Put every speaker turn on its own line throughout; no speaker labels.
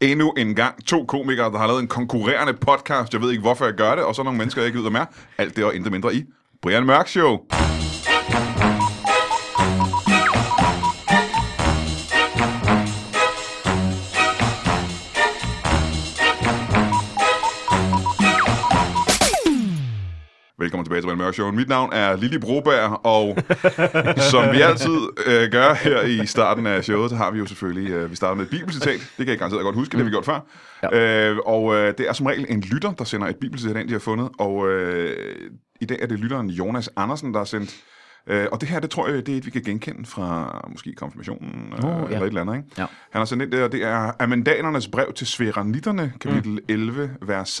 endnu en gang to komikere, der har lavet en konkurrerende podcast. Jeg ved ikke, hvorfor jeg gør det, og så nogle mennesker, jeg ikke yder mere. Alt det og intet mindre i Brian Mørk Show. Velkommen tilbage til Brian Mørk Show. Mit navn er Lili Broberg, og som vi altid øh, gør her i starten af showet, så har vi jo selvfølgelig, øh, vi starter med et bibelcitat. Det kan jeg garanteret godt huske, det har vi gjort før. Mm. Ja. Øh, og øh, det er som regel en lytter, der sender et bibelcitat ind, de har fundet. Og øh, i dag er det lytteren Jonas Andersen, der har sendt. Øh, og det her, det tror jeg, det er et, vi kan genkende fra måske konfirmationen øh, oh,
Åh,
ja.
ja.
eller et eller andet. Ikke?
Ja.
Han har sendt ind det, og det er Amandanernes brev til Sveranitterne, kapitel mm. 11, vers 16-22.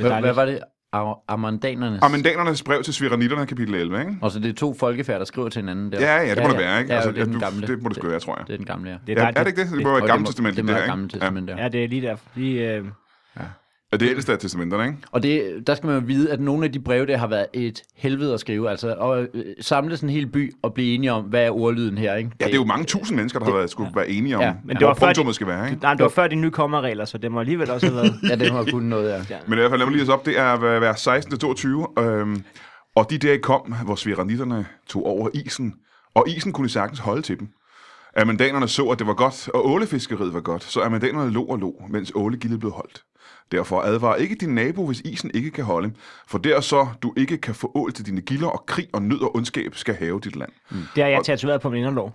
Hvad, hvad var det? Ar- Amandanernes?
Amandanernes brev til Sveranitterne, kapitel 11, ikke?
Og så det er to folkefærd, der skriver til hinanden der.
Ja, ja, det må det være, ikke?
Ja,
Altså,
altså, det er
ja,
den
du-
gamle.
det må det sgu være, tror jeg.
Det er den gamle, ja.
Det
Ja,
er,
er det ikke det? Det må være
Og
gammelt
må-
testament.
Det må
her,
være
ikke?
gamle testament, ja.
Ja, det er lige der. Lige, øh,
Ja. Det er ældste af testamenterne, ikke?
Og det, der skal man jo vide, at nogle af de breve, der har været et helvede at skrive. Altså at øh, samle sådan en hel by og blive enige om, hvad er ordlyden her, ikke?
Ja, det er jo mange tusind mennesker, der har været, skulle være enige om, ja,
Ja,
men
men
det
hvor
var før de-
punktummet skal være, ikke?
nej, det var før de nye kommerregler, så det må alligevel også have været...
Ja, det har kun noget, ja.
Men i hvert fald, lad mig lige læse op, det er at være 16-22. Øhm, og de dage kom, hvor sveranitterne tog over isen, og isen kunne sagtens holde til dem. Amandanerne så, at det var godt, og ålefiskeriet var godt, så amandanerne lå og lå, mens ålegildet blev holdt. Derfor advar ikke din nabo, hvis isen ikke kan holde, for der så du ikke kan få ål til dine gilder, og krig og nød og ondskab skal have dit land.
Det har jeg tatoveret på min inderlov.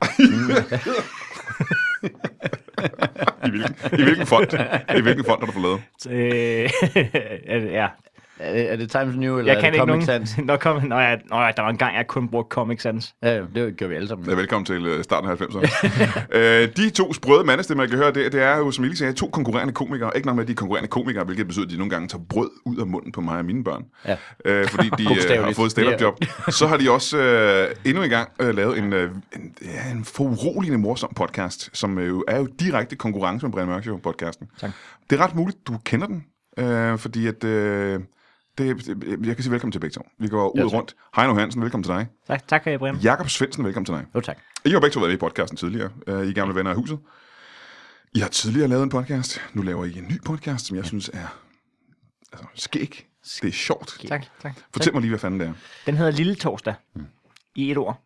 I hvilken, i hvilken fond? I hvilken fond har du fået lavet?
Øh, ja.
Er det, er det Times New, eller
Jeg
er
kan
det
ikke
Comic
nogen...
Sans?
Nå, kom, nå, ja, nå, ja, der var en gang, jeg kun brugte Comic Sans.
Ja, ja, det gør vi alle sammen.
Ja, velkommen til øh, starten af 90'erne. øh, de to sprøde mandestemmer, jeg kan høre, det, det er jo, som jeg lige sagde, to konkurrerende komikere. Ikke nok med, at de er konkurrerende komikere, hvilket betyder, at de nogle gange tager brød ud af munden på mig og mine børn.
Ja.
Øh, fordi de øh, har
Bogstaveligt.
fået stand-up job. Så har de også øh, endnu en gang øh, lavet en, øh, en, ja, en foruroligende morsom podcast, som øh, jo er jo direkte konkurrence med Brian Mørk Show podcasten.
Tak.
Det er ret muligt, du kender den, øh, fordi at... Øh, det, det- jeg kan sige velkommen til begge to. Vi går ud
Ja,
og
tak.
rundt. Heino Hansen, velkommen til dig.
Tak, tak for jer, Brian.
Jakob Svendsen, velkommen til dig.
Jo, tak.
I har begge to været med i podcasten tidligere. Øh, I er gamle venner af huset. I har tidligere lavet en podcast. Nu laver I en ny podcast, som jeg synes er altså, skæg. Det er sjovt.
Tak, tak.
Fortæl mig lige, hvad fanden det er.
Den hedder Lille Torsdag.
Mm.
I et ord.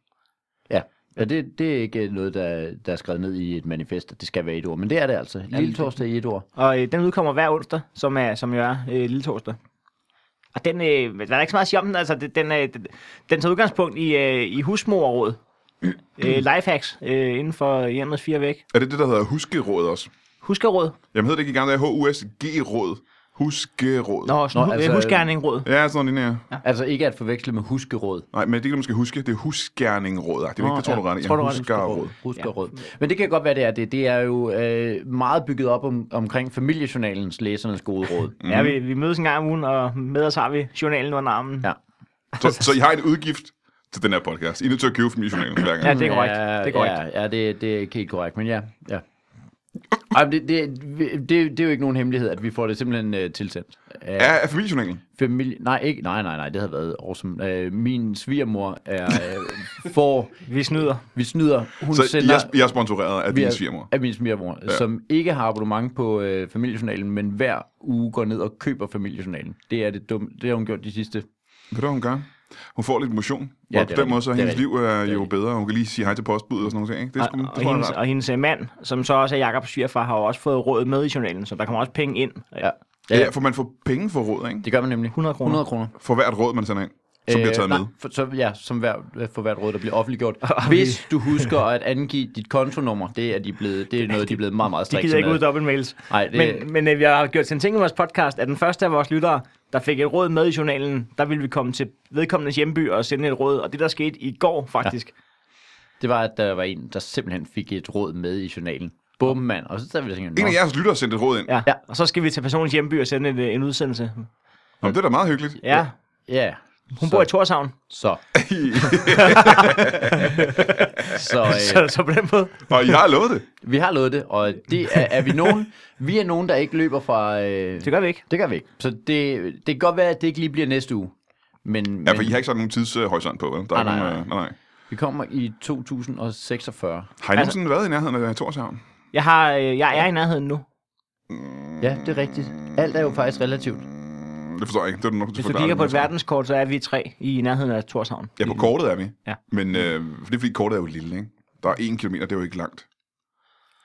Ja. Ja, det, det er ikke noget, der, der er skrevet ned i et manifest, at det skal være et ord. Men det er det altså. Lille torsdag i et ord.
Og øh, den udkommer hver onsdag, som, er, som jo er øh, lille torsdag. Og den, øh, der er ikke så meget at sige om den, altså det, den, øh, den, den tager udgangspunkt i, øh, i husmorråd. øh, lifehacks øh, inden for hjemmets fire væg.
Er det det, der hedder huskeråd også?
Huskeråd.
Jamen hedder det ikke i gamle dage HUSG-råd? Huskeråd.
Nå, sådan,
Nå,
Nå
altså,
altså, husgerningråd.
Ja, sådan noget lignende. Ja.
Altså ikke at forveksle med huskeråd.
Nej, men det kan du måske huske. Det er husgerningråd. Det er vigtigt, det tror
Nå,
du ret. i.
Tror du
Ja,
ret?
huskerråd.
Huskerråd. Men det kan godt være, det er det. Det er jo øh, meget bygget op om, omkring familiejournalens læsernes gode råd.
Mm. Ja, vi, vi mødes en gang om ugen, og med os har vi journalen under armen.
Ja.
Så, så I har en udgift til den her podcast. I er nødt til at købe familiejournalen hver gang.
Ja, det er korrekt.
Ja,
Det er korrekt.
Ja, ja det, det er ikke helt korrekt, men ja. ja. Ej, men det, det, det, det er jo ikke nogen hemmelighed, at vi får det simpelthen øh, tilsendt. Ja.
Ja, er familiejournalen.
Familie, nej, ikke, nej, nej, nej, det havde været awesome. Øh, min svigermor er, øh, får,
Vi snyder.
vi snyder, hun
Så I
sender...
er, I er sponsoreret af
vi
din
er-
svigermor.
Af min svigermor, ja. som ikke har abonnement på øh, familiejournalen, men hver uge går ned og køber familiejournalen. Det er det dumme. Det har hun gjort de sidste.
Ved du, hvad hun gør? Hun får lidt motion. Ja,
Ja,
og
det
på
er
den
rigtigt.
måde, så er
Det er
hendes liv er jo
rigtigt.
bedre. Hun kan lige sige hej til postbud og sådan noget. Ikke? Det er
Og,
sgu, det
og,
tror jeg,
hendes,
er ret.
og hendes øh, mand, som så også er Jakobs svigerfar, har jo også fået råd med i journalen, så der kommer også penge ind.
Ja.
Ja, ja, for man får penge for råd, ikke?
Det gør man nemlig.
100 kroner.
100 kroner.
For hvert råd, man sender ind, som øh, bliver taget
nej,
med.
For, så, ja, som hver, for hvert råd, der bliver offentliggjort. Hvis du husker at angive dit kontonummer, det er, de blevet, det er noget, de er blevet meget, meget
De
strikse
gider ikke
med.
ud dobbeltmails.
Nej, det-
Men, men øh, vi har gjort til en ting i vores podcast, at den første af vores lyttere, der fik et råd med i journalen, der ville vi komme til vedkommendes hjemby og sende et råd. Og det, der skete i går faktisk, ja.
Det var, at der var en, der simpelthen fik et råd med i journalen. Bum, mand. Og så der vi tænkte,
En af
"Nå,
jeres lyttere sendte et råd ind. Ja.
Ja.
Ja.
ja. Og så skal vi til personens hjemby og sende en, en udsendelse.
Jamen, det er da meget hyggeligt.
Ja,
ja.
hun
så,
bor i Torshavn,
Så. så, øh,
så, så på den måde.
og I har lovet det.
Vi har lovet det, og det er, er vi nogen. Vi er nogen, der ikke løber fra... Øh,
Det gør vi ikke.
det gør vi ikke. Så det, det kan godt være, at det ikke lige bliver næste uge. Men,
Ja, for
men
I har ikke sådan nogen tidshorisont på, vel? Der er
Nej, nej,
nogen, øh, nej, nej.
vi kommer i 2046.
Har I nogensinde været i nærheden af Torshavn?
Jeg, har, øh, jeg er i nærheden nu.
Ja, det er rigtigt. Alt er jo faktisk relativt.
Mm, Det forstår jeg ikke. Det er du nok,
Hvis du
forklare
kigger
det,
på et
Mads.
verdenskort, så er vi tre i nærheden af Torshavn.
Ja, på kortet er vi.
Ja.
Men øh, det er fordi kortet er jo lille, ikke? Der er en kilometer, det er jo ikke langt.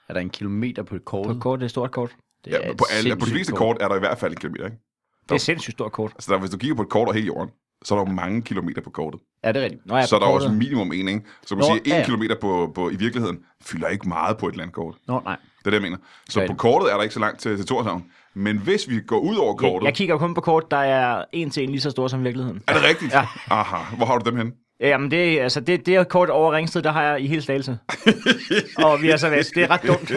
Er der en kilometer på et kort?
På et kort, det er et stort kort.
Ja,
et
på, alle, på de
sindssygt
fleste kort er der i hvert fald en kilometer, ikke?
Det er et sindssygt stort kort.
Altså, der, hvis du kigger på et kort over hele jorden, så er der jo mange kilometer på kortet.
Er det rigtigt?
Nå, ja,
så er
på
der
kortet.
også minimum en, ikke? Så man
Nå,
siger, en
ja, ja.
kilometer på, på, i virkeligheden fylder ikke meget på et landkort.
Nå, nej.
Det er det, jeg mener. Så
Ja, ja.
på kortet er der ikke så langt til, til Torshavn. Men hvis vi går ud over
Jeg,
kortet...
jeg kigger kun på kort, der er en til en lige så stor som virkeligheden.
Er det rigtigt? Ja. Aha, hvor har du dem henne?
Jamen, det, altså, det, det her kort over Ringsted, der har jeg i hele Slagelse. og vi er så væk. Det er ret dumt.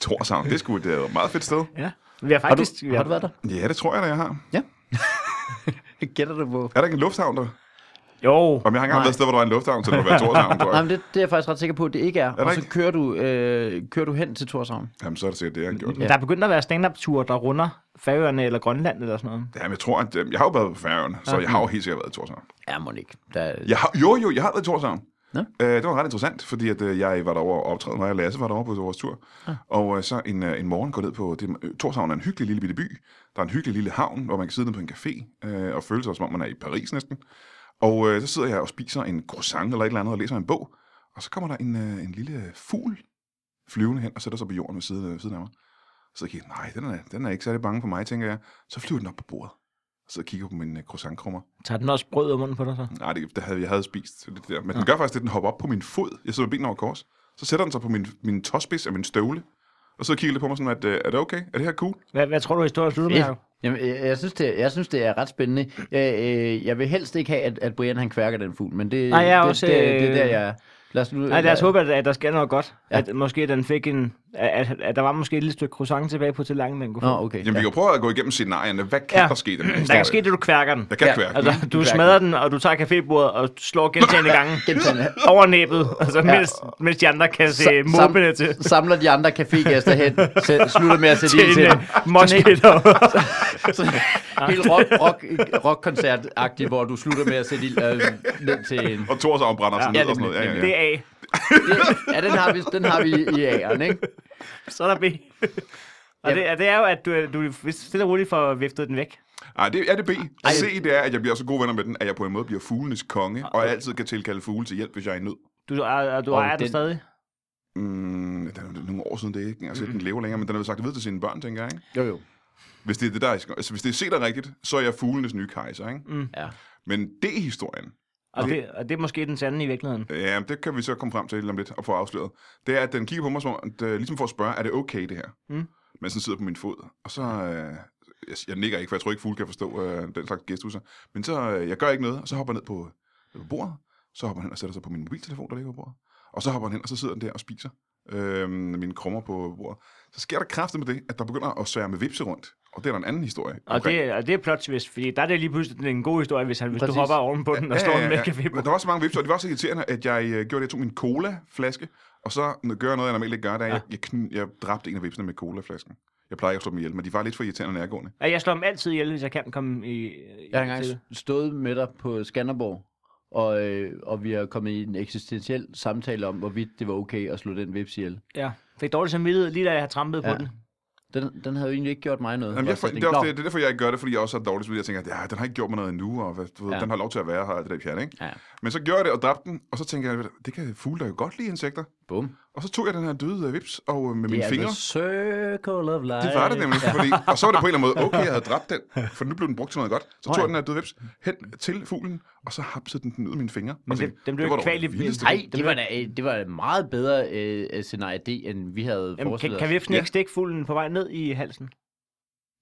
Torshavn, det skulle et øh, meget fedt sted.
Ja. Vi har
Har du,
faktisk... vi
har du været der?
Ja, det tror jeg, da jeg har.
Gætter du på?
Er der ikke en lufthavn der?
Jo.
Om jeg har engang
Nej.
været et sted, hvor der var en lufthavn, så det må være Torshavn, tror
Nej,
jeg.
men det, det er jeg faktisk ret sikker på, at det ikke er.
der
og så
ikke?
kører du, øh, kører du hen til Torshavn.
Jamen, så er det sikkert det, jeg har gjort.
Der er begyndt at være stand-up-ture, der runder Færøerne eller Grønland eller sådan noget.
Jamen, jeg tror, at øh, jeg har jo været på Færøerne, så jeg har jo helt sikkert været i Torshavn.
Ja, må ikke. Der,
Jeg har, jo, jo, jeg har været i Torshavn.
Nå.
Øh, det var ret interessant, fordi at, øh, jeg var derovre og optræde, mig og Lasse var derovre på vores tur. Og øh, så en, øh, en morgen går ned på, det, øh, Torshavn er en hyggelig lille bitte by. Der er en hyggelig lille havn, hvor man kan sidde ned på en café øh, og føle sig, som om man er i Paris næsten. Og øh, så sidder jeg og spiser en croissant eller et eller andet og læser en bog. Og så kommer der en, øh, en lille fugl flyvende hen og sætter sig på jorden ved siden, ved siden af mig. Så kigger jeg, nej, den er, den er ikke særlig bange for mig, tænker jeg. Så flyver den op på bordet. Så kigger jeg på min øh, croissantkrummer.
Tager den også brød af munden på dig så?
Nej, det, det havde, jeg havde spist det der. Men den gør faktisk det, at den hopper op på min fod. Jeg sidder med benene over kors. Så sætter den sig på min, min tåspids af min støvle. Og så kigger lidt på mig sådan, at øh, er det okay? Er det her cool?
Hvad, hvad tror du, historien slutter med?
Ja.
Jacob?
Jamen, jeg, jeg, synes, det, jeg synes, det er ret spændende. Jeg, øh, jeg vil helst ikke have, at, at Brian han kværker den fugl, men det,
Nej, jeg er
det,
også,
det, det, det er der,
øh,
jeg er. Lad os nu...
Nej, lad os
eller-
håbe, at, at der sker noget godt.
Ja.
Ja. At måske den fik en... At, at- at der var måske et lille stykke croissant tilbage på til lange, den kunne få.
Nå, okay.
Jamen, ja. vi kan jo prøve at gå igennem scenarierne. Hvad kan ja.
Ja.
der ske i den her
Der
historie?
kan ske det, du kværker den.
Der kan
Ja,
kværke. Altså...
Altså, du smadrer den, og du tager cafébordet og slår gentagende gange
Gentagende.
over næbet, altså, mens, mens de andre kan se
Sa- sam-
måbene til,
Samler de andre cafégæster hen, sæt, slutter med at sætte
til
ild
en
til
øh,
den.
mosquito.
Sådan Helt rock, rock, rockkoncert-agtigt, hvor du slutter med at sætte ild øh, ned til en...
Og Torshavn brænder sådan
Ja,
ned og sådan noget. Ja, ja,
Det
ja.
er A.
Ja, den har vi, den har vi i æren, ikke?
Så er der B. Og det, og det er jo, at du, øh, du stille og roligt får viftet den væk.
Ej, det er det B. C, det er, at jeg bliver så gode venner med den, at jeg på en måde bliver fuglenes konge, og jeg altid kan tilkalde fugle til hjælp, hvis jeg er i nød.
Du, er, du
Og
ejer den
den-
stadig.
Mm, det er jo nogle år siden, det er ikke engang set, den lever længere, men den har jo sagt det videre til sine børn, tænker jeg. Ikke?
Jo, jo.
Hvis det er det, der er, altså, hvis det er C, der er rigtigt, så er jeg fuglenes nye kejser. Ikke?
Ja.
Men D-historien, øh,
Og det, og det er måske den sande i virkeligheden.
Ja, det kan vi så komme frem til lige om lidt og få afsløret. Det er, at den kigger på mig, som om, at, øh, ligesom for at spørge, er det okay det her?
Mm.
Men sådan sidder på min fod, og så... Øh, jeg, jeg nikker ikke, for jeg tror ikke, fugle kan forstå øh, den slags gestusser. Men så, øh, jeg gør ikke noget, og så hopper jeg ned på, øh, på bordet. Så hopper han hen og sætter sig på min mobiltelefon, der ligger på bordet. Og så hopper han hen, og så sidder han der og spiser øh, mine krummer på bordet. Så sker der kraftigt med det, at der begynder at svære med vipse rundt. Og det er der en anden historie.
Og det, og det er plot twist, fordi der er det lige pludselig en god historie, hvis, han, hvis du
Præcis.
hopper ovenpå den og slår den med
Men
cafébordet.
der var så mange vipser, og det var så irriterende, at jeg øh, gjorde det, jeg tog min colaflaske, og så gør jeg noget, jeg normalt ikke gør, da jeg, jeg, kn- jeg dræbte en af vipsene med colaflasken. Jeg plejer ikke at slå dem ihjel, men de var lidt for irriterende og nærgående.
Ja, Jeg slår dem altid ihjel, hvis jeg kan komme i... i
Jeg har engang
til-
stået med dig på Skanderborg, og, øh, og vi er kommet i en eksistentiel samtale om, hvorvidt det var okay at slå den vips ihjel.
Ja, fik dårlig samvittighed, lige da jeg har trampet
Ja.
på den.
Den, den havde jo egentlig ikke gjort mig noget.
Jamen,
hvor
jeg, for,
sådan
det, er også,
tænkte,
det, det er derfor, jeg ikke gør det, fordi jeg også er dårlig, fordi jeg tænker, at ja, den har ikke gjort mig noget endnu, og hvad, du ved,
Ja.
den har lov til at være her, og det der pjat, ikke?
"Nå, Ja,
Men så gjorde jeg det og dræbte den, og så tænker jeg, det kan fugle der jo godt lide insekter.
bum.
Og så tog jeg den her døde øh, vips og øh, med
Det
mine
er
fingre.
the circle of life.
Det var det nemlig, fordi, og så var det på en eller anden måde, okay, jeg havde dræbt den, for nu blev den brugt til noget godt. Så tog
ja.
jeg den her døde vips hen til fuglen, og så hapsede den den ud af mine fingre. Men
den- den blev ikke kvalt i-
Nej, det var, da, øh, det var et meget bedre øh, scenarie D, end vi havde
Jamen, kan,
forestillet
kan vi
os.
ikke
Ja.
ikke stikke fuglen på vej ned i halsen?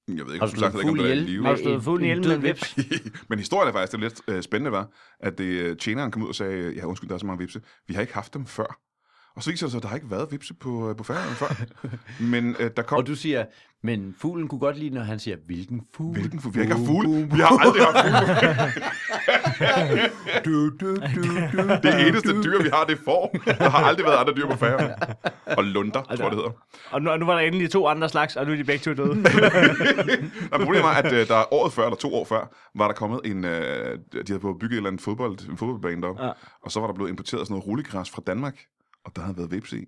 Jeg ved ikke,
Har
om
du
som sagt, jeg
slået
ved ikke, om
fugl
det er i
ihjel?
live.
Har
Nej.
du slået
en-
fuglen
en
ihjel med
død
en vips?
Men historien er faktisk det lidt øh, spændende, var, at det, øh, tjeneren kom ud og sagde, øh, ja, undskyld, der er så mange vipse. Vi har ikke haft dem før. Og så viser det sig, at der har ikke været vipse på, øh, på færgerne før. Men øh, der kom...
Og du siger, men fuglen kunne godt lide, når han siger, hvilken fugl?
Hvilken fugle? Vi har ikke haft fugle. Vi har aldrig haft fugle.
Du, du, du, du.
Det eneste dyr, vi har, det er får. Der har aldrig været andre dyr på færgerne. Og lunder, tror jeg, det hedder.
Og nu, og nu var der endelig to andre slags, og nu er de begge to døde.
Nej, problemet var, at øh, der året før, eller to år før, var der kommet en... Øh, de havde på bygget en eller anden fodbold, en fodboldbane deroppe, ja.
Ja.
og så var der blevet importeret sådan noget rullegræs fra Danmark, og der havde været vips i.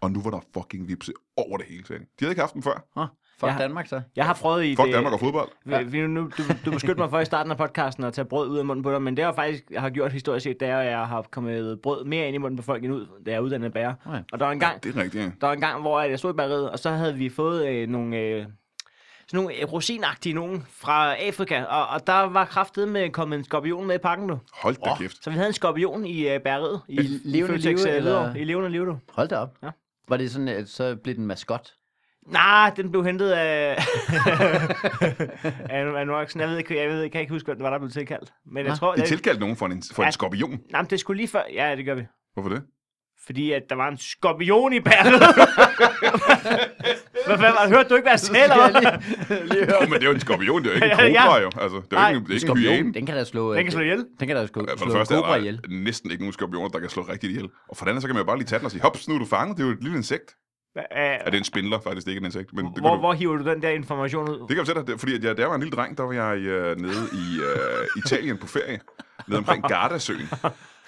Og nu var der fucking vipse over det hele, sagde de. De havde ikke haft dem før.
Nå, fuck
Jeg har-
Danmark så.
Jeg har prøvet i
Fuck
det.
Danmark og fodbold.
Ja.
Ja. Nu, nu, du, du beskytter mig for i starten af podcasten at tage brød ud af munden på dig, men det har jeg faktisk jeg har gjort historisk set, det er, at jeg har kommet brød mere ind i munden på folk end ud, da jeg er uddannet bærer.
Nå ja.
Og der var en gang,
Det er rigtigt, ja.
der var en gang, hvor jeg stod i bageriet, og så havde vi fået øh, nogle... Øh, sådan nogle øh, rosinagtige nogen fra Afrika, og, og der var kraftet med kommet en skorpion med i pakken nu.
Hold da kæft.
Så vi havde en skorpion i øh, bæreriet. I,
levende
Føtex,
live,
øh,
eller?
Hvidovre. I levende liv, du.
Hold da op.
Ja.
Var det sådan, at så blev den maskot?
Nej, den blev hentet af... af, af Noxen. Jeg ved, ikke, jeg ved, jeg kan ikke huske, hvad det var, der blev tilkaldt. Men jeg
Nå,
tror...
De
Det til...
tilkaldte nogen for en, for en
Ja.
skorpion.
Nej, men det skulle lige før... Ja, det gør vi.
Hvorfor det?
Fordi at der var en skorpion i bæret. hvad fanden var det? Hørte du ikke, hvad jeg sagde, eller hvad?
Oh, men det er jo en skorpion, det er jo ikke en
Ja, ja.
kobra, jo. Altså, det er jo
Nej,
ikke, en- det er ikke en hyæne.
Skorpion, den kan da slå...
Den kan slå ihjel.
Den kan da slå,
Ja, For det
slå
første er
kobra ihjel.
der næsten ikke nogen skorpioner, der kan slå rigtigt ihjel. Og for det andet, så kan man jo bare lige tage den og sige, hops, nu er du fanget, det er jo et lille insekt. Ja,
Æh,
det er en spindler, faktisk, det er ikke et insekt. Men det,
hvor,
kunne du,
hvor hiver du den der information ud?
det kan jeg fortælle dig, det er fordi at jeg, da jeg var en lille dreng, der var jeg øh, nede i øh, Italien på ferie, nede omkring Gardasøen.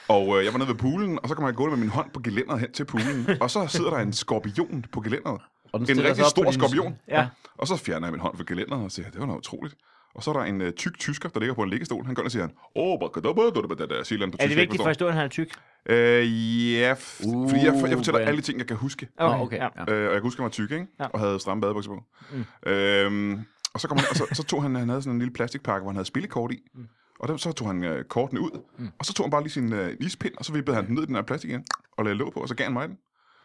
Og øh, jeg var nede ved poolen, og så kom jeg gående med min hånd på gelænderet hen til poolen, og så sidder der en skorpion på gelænderet.
Og den
en
stiller sig
rigtig
op på
stor
din-
skorpion.
Ja.
Og så fjerner jeg min hånd fra gelænderet og siger, det var noget utroligt. Og så er der en øh, tyk tysker, der ligger på en liggestol. Han går ind og siger, åh, bakadabadabadada, siger et eller andet på
Er
tysk, jeg
det
ikke
vigtigt for historien, at han er tyk?
Øh, ja, f-
Uh,
fordi jeg, jeg fortæller
mand.
alle de ting, jeg kan huske.
Nå, okay.
Ja.
Ja.
Øh, og jeg kan huske, at han var tyk, ikke?
Ja.
Og havde stramme badebukser på. Mm. Øhm, og så, kom han, og så, så tog han, han havde sådan en lille plastikpakke, hvor han havde spillekort i. Mm. Og dem, så tog han øh, kortene ud, mm. og så tog han bare lige sin øh, ispind, og så vippede han den ned i den her plastik igen, og lagde låg på, og så gav han mig den.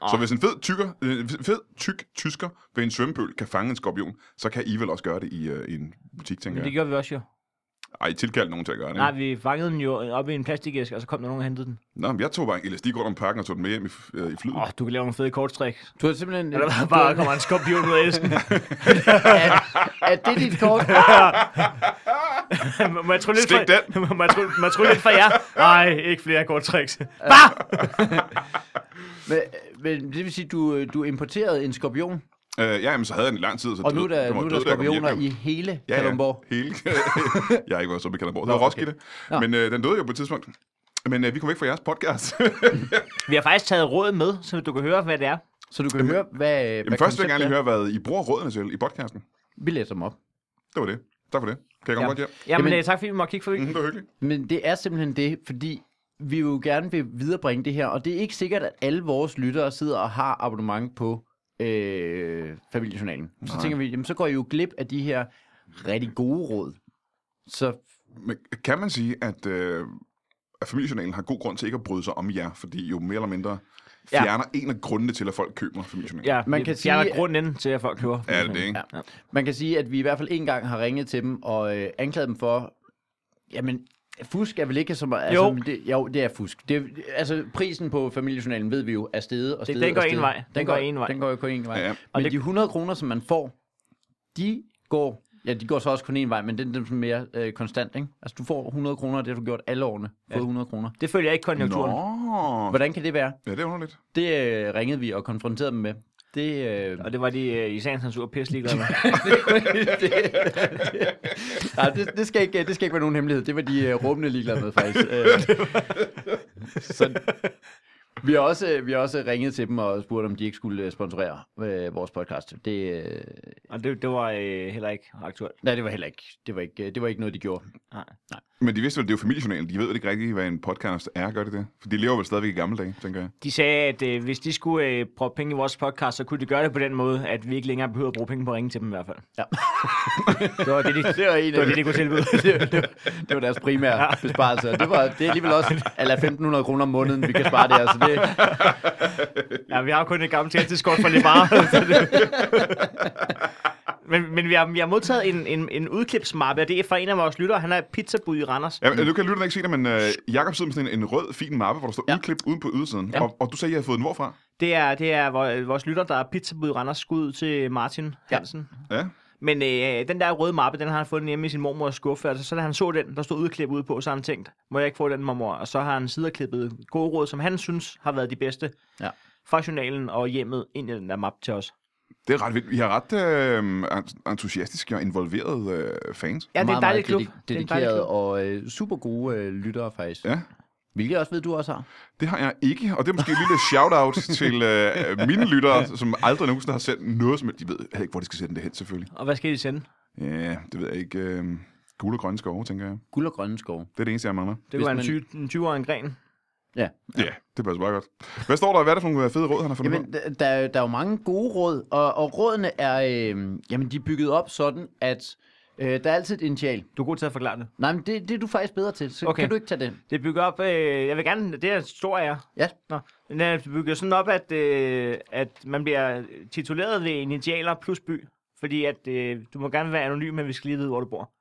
Så
Ah.
hvis en fed, tykker, øh, en fed tyk tysker ved en svømmepøl kan fange en skorpion, så kan I vel også gøre det i, øh, i en butik, tænker
Men det
jeg.
gjorde vi også jo.
Ej, tilkald nogen til at gøre det.
Nej,
ikke?
vi fangede den jo op i en plastikæske, og så kom der nogen og hentede den.
Nå, men jeg tog bare en elastik rundt om pakken og tog den med hjem i, f- øh, i flyet.
Åh, oh, du kan lave nogle fede kortstræk.
Du har simpelthen...
Eller bare,
du har-
bare kommer en skorpion ud af æsken.
er, er det dit kort?
må jeg trylle lidt
Stik
fra, må jeg trylle, må jeg trylle lidt fra jer? Nej, ikke flere korttricks. Bare!
Men, men det vil sige, du, øh, du importerede en skorpion,
Øh, ja, jamen, så havde jeg den i lang tid, så
og nu er
døde-
der,
den var
nu er
død,
der
da jeg kom hjem,
skorpioner
jo.
i hele
Ja,
Kalundborg.
Ja, hele. jeg er ikke været så i Kalundborg. Det
Nå,
var
okay.
Roskilde.
Nå.
Men øh, den døde jo på et tidspunkt. Men øh, vi kom ikke fra jeres podcast.
Vi har faktisk taget råd med, så du kan høre, hvad det er.
Så du kan høre, hvad, hvad
Men først vil jeg gerne
konceptet
lige
er.
høre, hvad I bruger rådene til i podcasten.
Vi læser dem op.
Det var det. Tak for det. Kan jeg komme
Ja.
godt hjem?
Jamen, Mhm.
Jamen-
Jamen tak fordi vi måtte kigge forbi.
Mm, det var hyggeligt.
Men det er simpelthen det, fordi vi jo gerne vil viderebringe det her, og det er ikke sikkert, at alle vores lyttere sidder og har abonnement på øh, familiejournalen. Så
Nej.
tænker vi, jamen, så går I jo glip af de her rigtig gode råd. Så
Men kan man sige, at, øh, at familiejournalen har god grund til ikke at bryde sig om jer, fordi jo mere eller mindre
Ja.
fjerner en af grundene til, at folk køber familiejournalen.
Ja,
Man
man
kan
kan jeg
sige-
er grunden til, at folk køber.
Er det det, ikke?
Ja. man kan sige, at vi i hvert fald en gang har ringet til dem og øh, anklaget dem for, jamen, fusk er vel ikke som... Altså,
Jo.
men Det, jo, det er fusk. Det, altså, prisen på familiejournalen ved vi jo er steget og
Det-
steget
den går
og steget.
én vej. Den går én vej.
Den går jo kun én vej.
Ja, ja.
Ja.
Og
Men
det-
de 100 kroner, som man får, de går... Ja, de går så også kun én vej, men det er dem som er mere øh, konstant, ikke? Altså, du får 100 kroner, det har du gjort alle årene. Fået 100 kroner.
Det følger ikke konjunkturen.
Nå.
Hvordan kan det være?
Ja, det er underligt.
Det øh, ringede vi og konfronterede dem med. Det, øh,
Og det var de øh, i sagens natur pisse ligeglade med.
det, det, ja, det, det, skal ikke, det skal ikke være nogen hemmelighed. Det var de uh, råbende ligeglade med, faktisk. Uh, så, vi har, også, øh, vi har også ringet til dem og spurgt, om de ikke skulle øh, sponsorere øh, vores podcast. Det, øh,
Og det, det var øh, heller ikke aktuelt.
nej, det var heller ikke. Det var ikke, øh, det var ikke noget, de gjorde.
Men de vidste vel, at det er jo familiejournalen. De ved vel ikke rigtigt, hvad en podcast er, gør de det? For de lever vel stadigvæk i gamle dage, tænker jeg.
De sagde, at øh, hvis de skulle øh, prøve penge i vores podcast, så kunne de gøre det på den måde, at vi ikke længere behøver at bruge penge på at ringe til dem i hvert fald.
Ja.
det var det, de,
Det var en
det, var
af
det, de kunne tilbyde.
det, det, det var deres primære ja. besparelse. og Det, var, det er alligevel også ala 1.500 kroner om måneden, vi kan spare der. Så det,
Ja, vi har jo kun et gammelt tjenesteskort fra Limar. men, men vi, har, vi har modtaget en, en, en udklipsmappe, og det er fra en af vores lyttere. Han er et pizzabud i Randers.
Ja, men, nu kan lytterne ikke se det, men øh, Jakob sidder med sådan en, en rød, fin mappe, hvor der står ja.
Ja.
udklip uden på ydersiden. Ja.
Ja.
Og, og du sagde, at I havde fået den hvorfra?
Det er, det er vor- vores lytter, der er pizzabud i Randers. Skud til Martin
Ja.
Hansen.
Ja.
Men øh, den der røde mappe, den har han fundet hjemme i sin mormors skuffe. Altså, så da han så den, der stod udklip ude på, så har han tænkt, må jeg ikke få den, mormor? Og så har han siderklippet gode råd, som han synes har været de bedste
Ja.
fra journalen og hjemmet ind i den der mappe til os.
Det er ret vildt. I har ret øh, ent- entusiastiske og involverede øh, fans.
Ja, det er en
meget,
dejlig klub.
meget
Det er en
dedikeret
dejlig klub.
og øh, super gode øh, lyttere, faktisk.
Ja.
Hvilket jeg også ved, du også har.
Det har jeg ikke, og det er måske et lille shout-out til øh, mine lyttere, som aldrig nogensinde har sendt noget, som de ved heller ikke, hvor de skal sende det hen, selvfølgelig.
Og hvad skal de sende?
Ja, det ved jeg ikke. Øh, gule og grønne skove, tænker jeg.
Guld og grønne skove.
Det er det eneste, jeg mangler.
Det
Hvis
kunne være en
man-
20 en 20-årig gren.
Ja.
Ja, ja det passer bare godt. Hvad står der? Hvad er det for nogle øh, fede råd, han har fundet jamen,
Jamen, der, der, er jo- der er jo mange gode råd, og, og rådene er, øh, jamen, de er bygget op sådan, at øh, der er altid et initial.
Du er god til at forklare det.
Nej, men det, det er du faktisk bedre til, så
Okay.
kan du ikke tage den.
Det er bygget op... Øh, jeg vil gerne... Det er en stor ære.
Ja,
Nå. Den er bygget sådan op, at, øh, at man bliver tituleret ved initialer plus by. Fordi at øh, du må gerne være anonym, men vi skal lige vide, hvor du bor.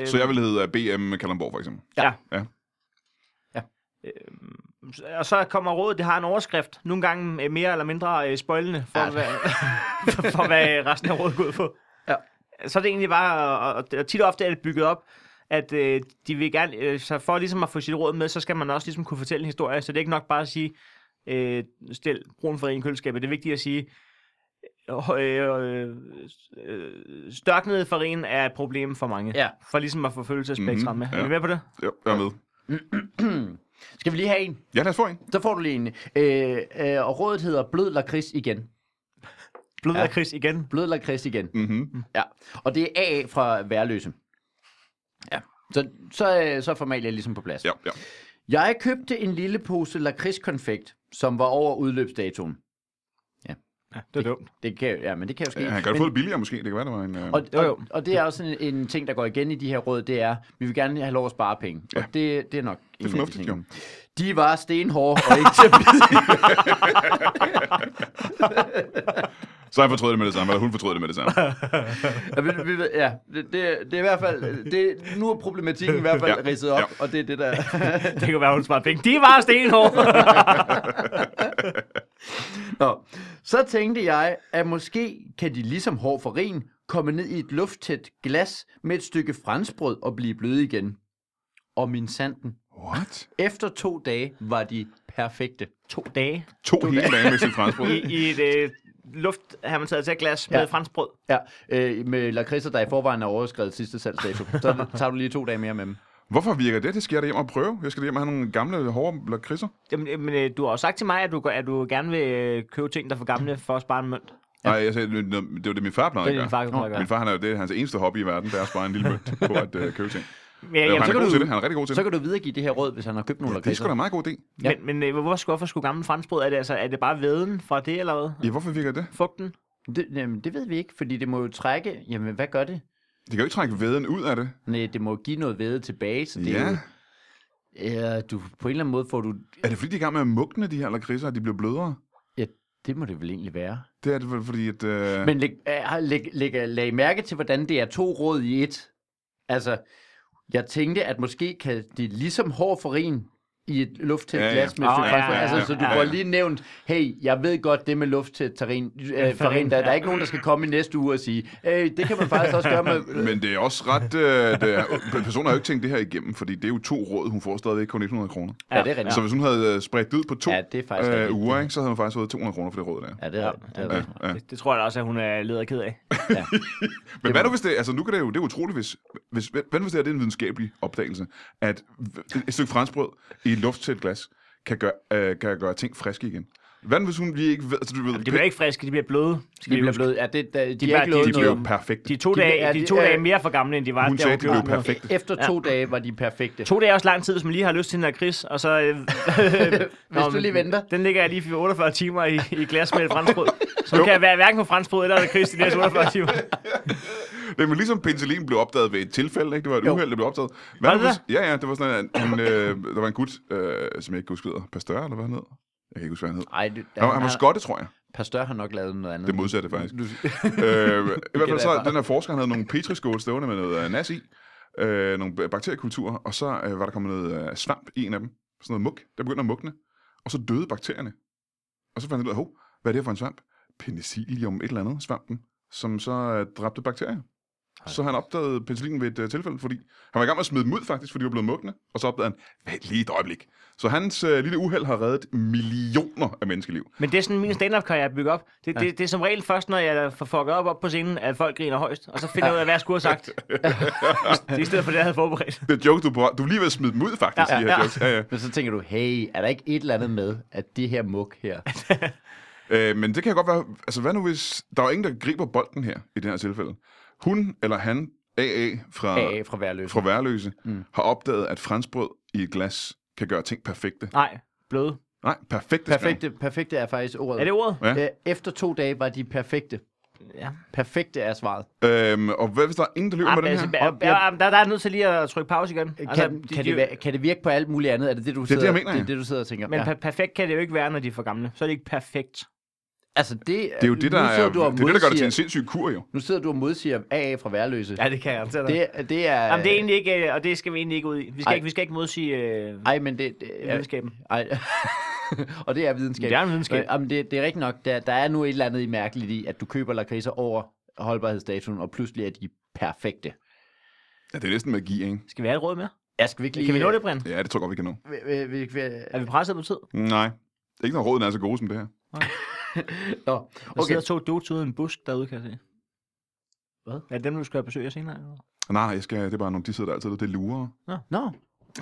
Øh,
Så jeg vil hedde øh, BM Kalamborg, for eksempel.
Øhm, Ja.
Ja.
Ja.
Øh, og så kommer rådet, det har en overskrift. Nogle gange øh, mere eller mindre øh, spoilende for,
Ja.
hvad, for, for, hvad resten af rådet går ud på.
Ja.
Så er det egentlig bare, og- og, og tit og ofte er det bygget op, at øh, de vil gerne, øh, så for ligesom at få sit råd med, så skal man også ligesom kunne fortælle en historie. Så det er ikke nok bare at sige, øh, stil brun for en køleskab. Det er vigtigt at sige, øh, øh, øh, størknede farin er et problem for mange.
Ja.
For ligesom at få følelsespektrum
Mhm,
med. Er
ja.
du med på det?
Jo, jeg er med.
skal vi lige have en?
Ja, lad os få en.
Så får du lige en. Øh, øh, og rådet hedder blød lakrids igen.
Blød
Ja.
ja. Chris igen.
Blød lakrids igen.
Mm-hmm.
Ja, og det er AA fra Værløse. Ja, så, så, øh, så er formalia ligesom på plads.
Ja, ja.
Jeg købte en lille pose lakridskonfekt, som var over udløbsdatoen.
Ja, det er dumt.
Det kan, jo- ja, men det kan jo ske.
ja han kan jo
men,
få det billigere måske. Det kan være, det var en... Øh...
og,
Jo, jo.
og, og det er også en, en ting, der går igen i de her råd, det er, vi vil gerne have lov at spare penge. Ja. Og det, det er nok
Det er fornuftigt, jo.
De var stenhårde og ikke til at bide. i.
Så han fortrød det med det samme, eller hun fortrød det med det samme.
Ja, vi, vi, ved- ja det, det, det er i hvert fald, det, nu er problematikken i hvert fald
Ja,
ja. ridset op,
ja.
og det er det, der...
Det kan være, hun sparer penge. De var stenhårde.
Nå. Så tænkte jeg, at måske kan de ligesom hård for ren komme ned i et lufttæt glas med et stykke franskbrød og blive bløde igen. Og min sanden.
What?
Efter to dage var de perfekte.
to dage
To hele dage med sit franskbrød.
i, i et øh, luft, har man taget til et glas
Ja.
med franskbrød.
Ja, øh, med lakridser, der i forvejen er overskrevet sidste salgsdato. Så tager du lige to dage mere med dem.
Hvorfor virker det? Det skal jeg da hjem og prøve. Jeg skal da hjem og have nogle gamle, hårde lakridser.
Jamen, øh, men øh, du har jo sagt til mig, at du, går- at du gerne vil øh, købe ting, der er for gamle, for at spare en mønt.
Nej, jeg sagde, det det var det, min far plejede
Det er
at gøre.
din far, der plejer at
Min far, han er jo det, hans eneste hobby i verden, det er at spare en lille mønt på at øh, købe ting.
Men, ja,
Jo,
jamen,
han
så
er
kan
god
du,
til det, han er rigtig god til
Så
det.
kan du videregive det her råd, hvis han har købt nogle
Det er sgu da
lakridser.
en meget god idé.
Ja.
men, men øh, hvorfor, hvorfor skulle gamle franskbrød? Er det, altså, er det bare væden fra det, eller hvad?
Ja, hvorfor virker det?
Fugten?
Det, jamen, det ved vi ikke, fordi det må jo trække... Jamen, hvad gør det?
Det kan jo ikke trække væden ud af det.
Nej, det må jo give noget væde tilbage, så det
Ja.
er jo... Ja, du, på en eller anden måde får du...
Er det fordi, de er i gang med at mugne de her lakridser, at de bliver blødere?
Ja, det må det vel egentlig være.
Det er det vel, fordi, at... Øh...
Men læg, øh, læg, læg, læg mærke til, hvordan det er to råd i et. Altså, jeg tænkte, at måske kan det ligesom hård for rin i et lufttæt
Ja, ja.
glas med
Åh,
oh,
ja,
ja,
ja,
altså,
ja,
så du
ja,
får
ja.
lige nævnt, hey, jeg ved godt det med lufttæt terrin, øh, farin,
farin,
der, der er
ja.
ikke nogen, der skal komme i næste uge og sige, hey, det kan man faktisk også gøre med...
Men det er også ret... Øh, det er, personen har jo ikke tænkt det her igennem, fordi det er jo to råd, hun får stadigvæk kun 100 kroner.
Ja, det er rigtigt.
Så hvis hun havde øh, spredt det ud på to
Ja, det er faktisk
øh,
rigtigt.
uger, ikke, så havde hun faktisk fået 200 kroner for det råd der.
Ja, det er rigtigt. Det er rigtigt.
Ja.
Det, det tror jeg da også, at hun er leder ked af.
Men hvad nu hvis det... Altså nu kan det jo... Det er utroligt, hvis... hvis hvad hvad nu hvis det, her, det er en videnskabelig opdagelse, at et stykke franskbrød i et lufttæt glas kan gøre, øh, kan gøre ting friske igen? Hvad nu hvis hun lige ikke ved... Altså, du ved,
De bliver ikke friske, de bliver bløde. Skal
De
de,
bliver
huske.
blevet, ja, det, de, de
bliver-
bliver ikke
de
lovet
de
noget.
bliver perfekte.
de er to,
De bliver-
dage,
er
de er
de-
to
er-
dage mere for gamle, end de var.
Hun
da
sagde, de
købte
blev
dem.
perfekte.
Efter to dage var de perfekte.
To dage er også lang tid, hvis man lige har lyst til en lakrids, og så... Øh, Hvis
du lige venter.
Den ligger jeg lige for 48 timer i, i et glas med et franskbrød. Så nu kan jeg være hverken på franskbrød eller lakrids de næste 48 timer.
Det var ligesom penicillin blev opdaget ved et tilfælde, ikke? Det var et uheld, der blev opdaget. Hvad
Var det
nu hvis- Ja, ja, det var sådan, at han, øh, der var en gut, øh, som jeg ikke kan huske, hvad hedder. Pasteur, eller hvad han hed? Jeg kan ikke huske, hvad han hed.
Ej, det,
Han var, han var skotte, tror jeg.
Pasteur har nok lavet noget andet.
Det modsatte, faktisk. øh, I hvert fald
jeg
så,
bare.
den her forsker, han havde nogle petriskål stående med noget øh, nas i, øh, nogle ba- bakteriekulturer, og så øh, var der kommet noget øh, svamp i en af dem, sådan noget muk, der begyndte at mugne, og så døde bakterierne. Og så fandt han ud af, hov, hvad er det her for en svamp? Penicillium, et eller andet, svampen, som så øh, dræbte bakterier. Så han opdagede penicillinen ved et øh, tilfælde, fordi han var i gang med at smide dem ud faktisk, fordi de var blevet mugne, og så opdagede han, vent lige et øjeblik. Så hans øh, lille uheld har reddet millioner af menneskeliv.
Men det er sådan, min stand-up-karriere er bygget op. Det, det, det, er som regel først, når jeg får fucket op, op på scenen, at folk griner højst. Og så finder jeg ud af, hvad jeg skulle have sagt. det er i stedet for det, jeg havde forberedt.
Det er joke, du, på, du er lige ved at smide dem ud faktisk. Ja,
Ja, ja,
de her
ja.
Jokes. Ja, ja.
Men så tænker du, hey, er der ikke et eller andet med, at det her muk her...
Øh, men det kan godt være, altså hvad nu hvis, der er jo ingen, der griber bolden her, i det her tilfælde. Hun eller han, AA fra,
AA fra værløs.
fra Værløse, mm. har opdaget, at franskbrød i et glas kan gøre ting perfekte.
Nej, bløde.
Nej, perfekte. skriver han.
Perfekte, perfekte er faktisk ordet.
Er det ordet?
Ja.
Øh, Efter to dage var de perfekte.
Ja.
Perfekte er svaret.
Øhm, og hvad hvis der er ingen, der løber med
Ah, men
den her?
altså, ja, ja, der, der er jeg nødt til lige at trykke pause igen.
Kan, altså, kan, det, være- kan det virke på alt muligt andet? Er det det, du,
det,
sidder,
jeg mener,
det, er
ja.
det, du sidder og tænker?
men
ja.
per- perfekt kan det jo ikke være, når de er for gamle. Så er det ikke perfekt.
altså, det,
Det er jo det, der,
nu sidder
er,
du og
det, er det, der gør det til
modsiger-
en sindssyg kur, jo.
Nu sidder du og modsiger AA fra værløse.
Ja, det kan jeg. Det,
Det, det er...
Jamen, det er egentlig ikke, øh, og det skal vi egentlig ikke ud i. Vi skal,
Ej.
ikke, vi skal ikke modsige øh,
Ej, men det... det er,
videnskaben.
ej. og det er videnskab.
Det er en videnskab.
Øh, Jamen, det, det er rigtigt nok. Der, der er nu et eller andet i mærkeligt i, at du køber lakridser over holdbarhedsdatoen, og pludselig er de perfekte.
Ja, det er næsten magi, ikke?
Skal vi have et råd med?
Jeg skal virkelig...
Kan vi nå det, Brian?
Ja, det tror jeg godt, vi kan nå.
Vi, øh, vi, vi,
Er vi presset på tid?
Nej. Ikke når rådene er så gode som det her.
Nå,
Der okay.
okay.
sidder to dudes ude i en busk derude, kan jeg se.
Hvad?
Er det dem, du skal have besøg af senere? eller hvad?
Nej, jeg skal, det er bare nogle, de sidder der altid, det er lurer.
Nå,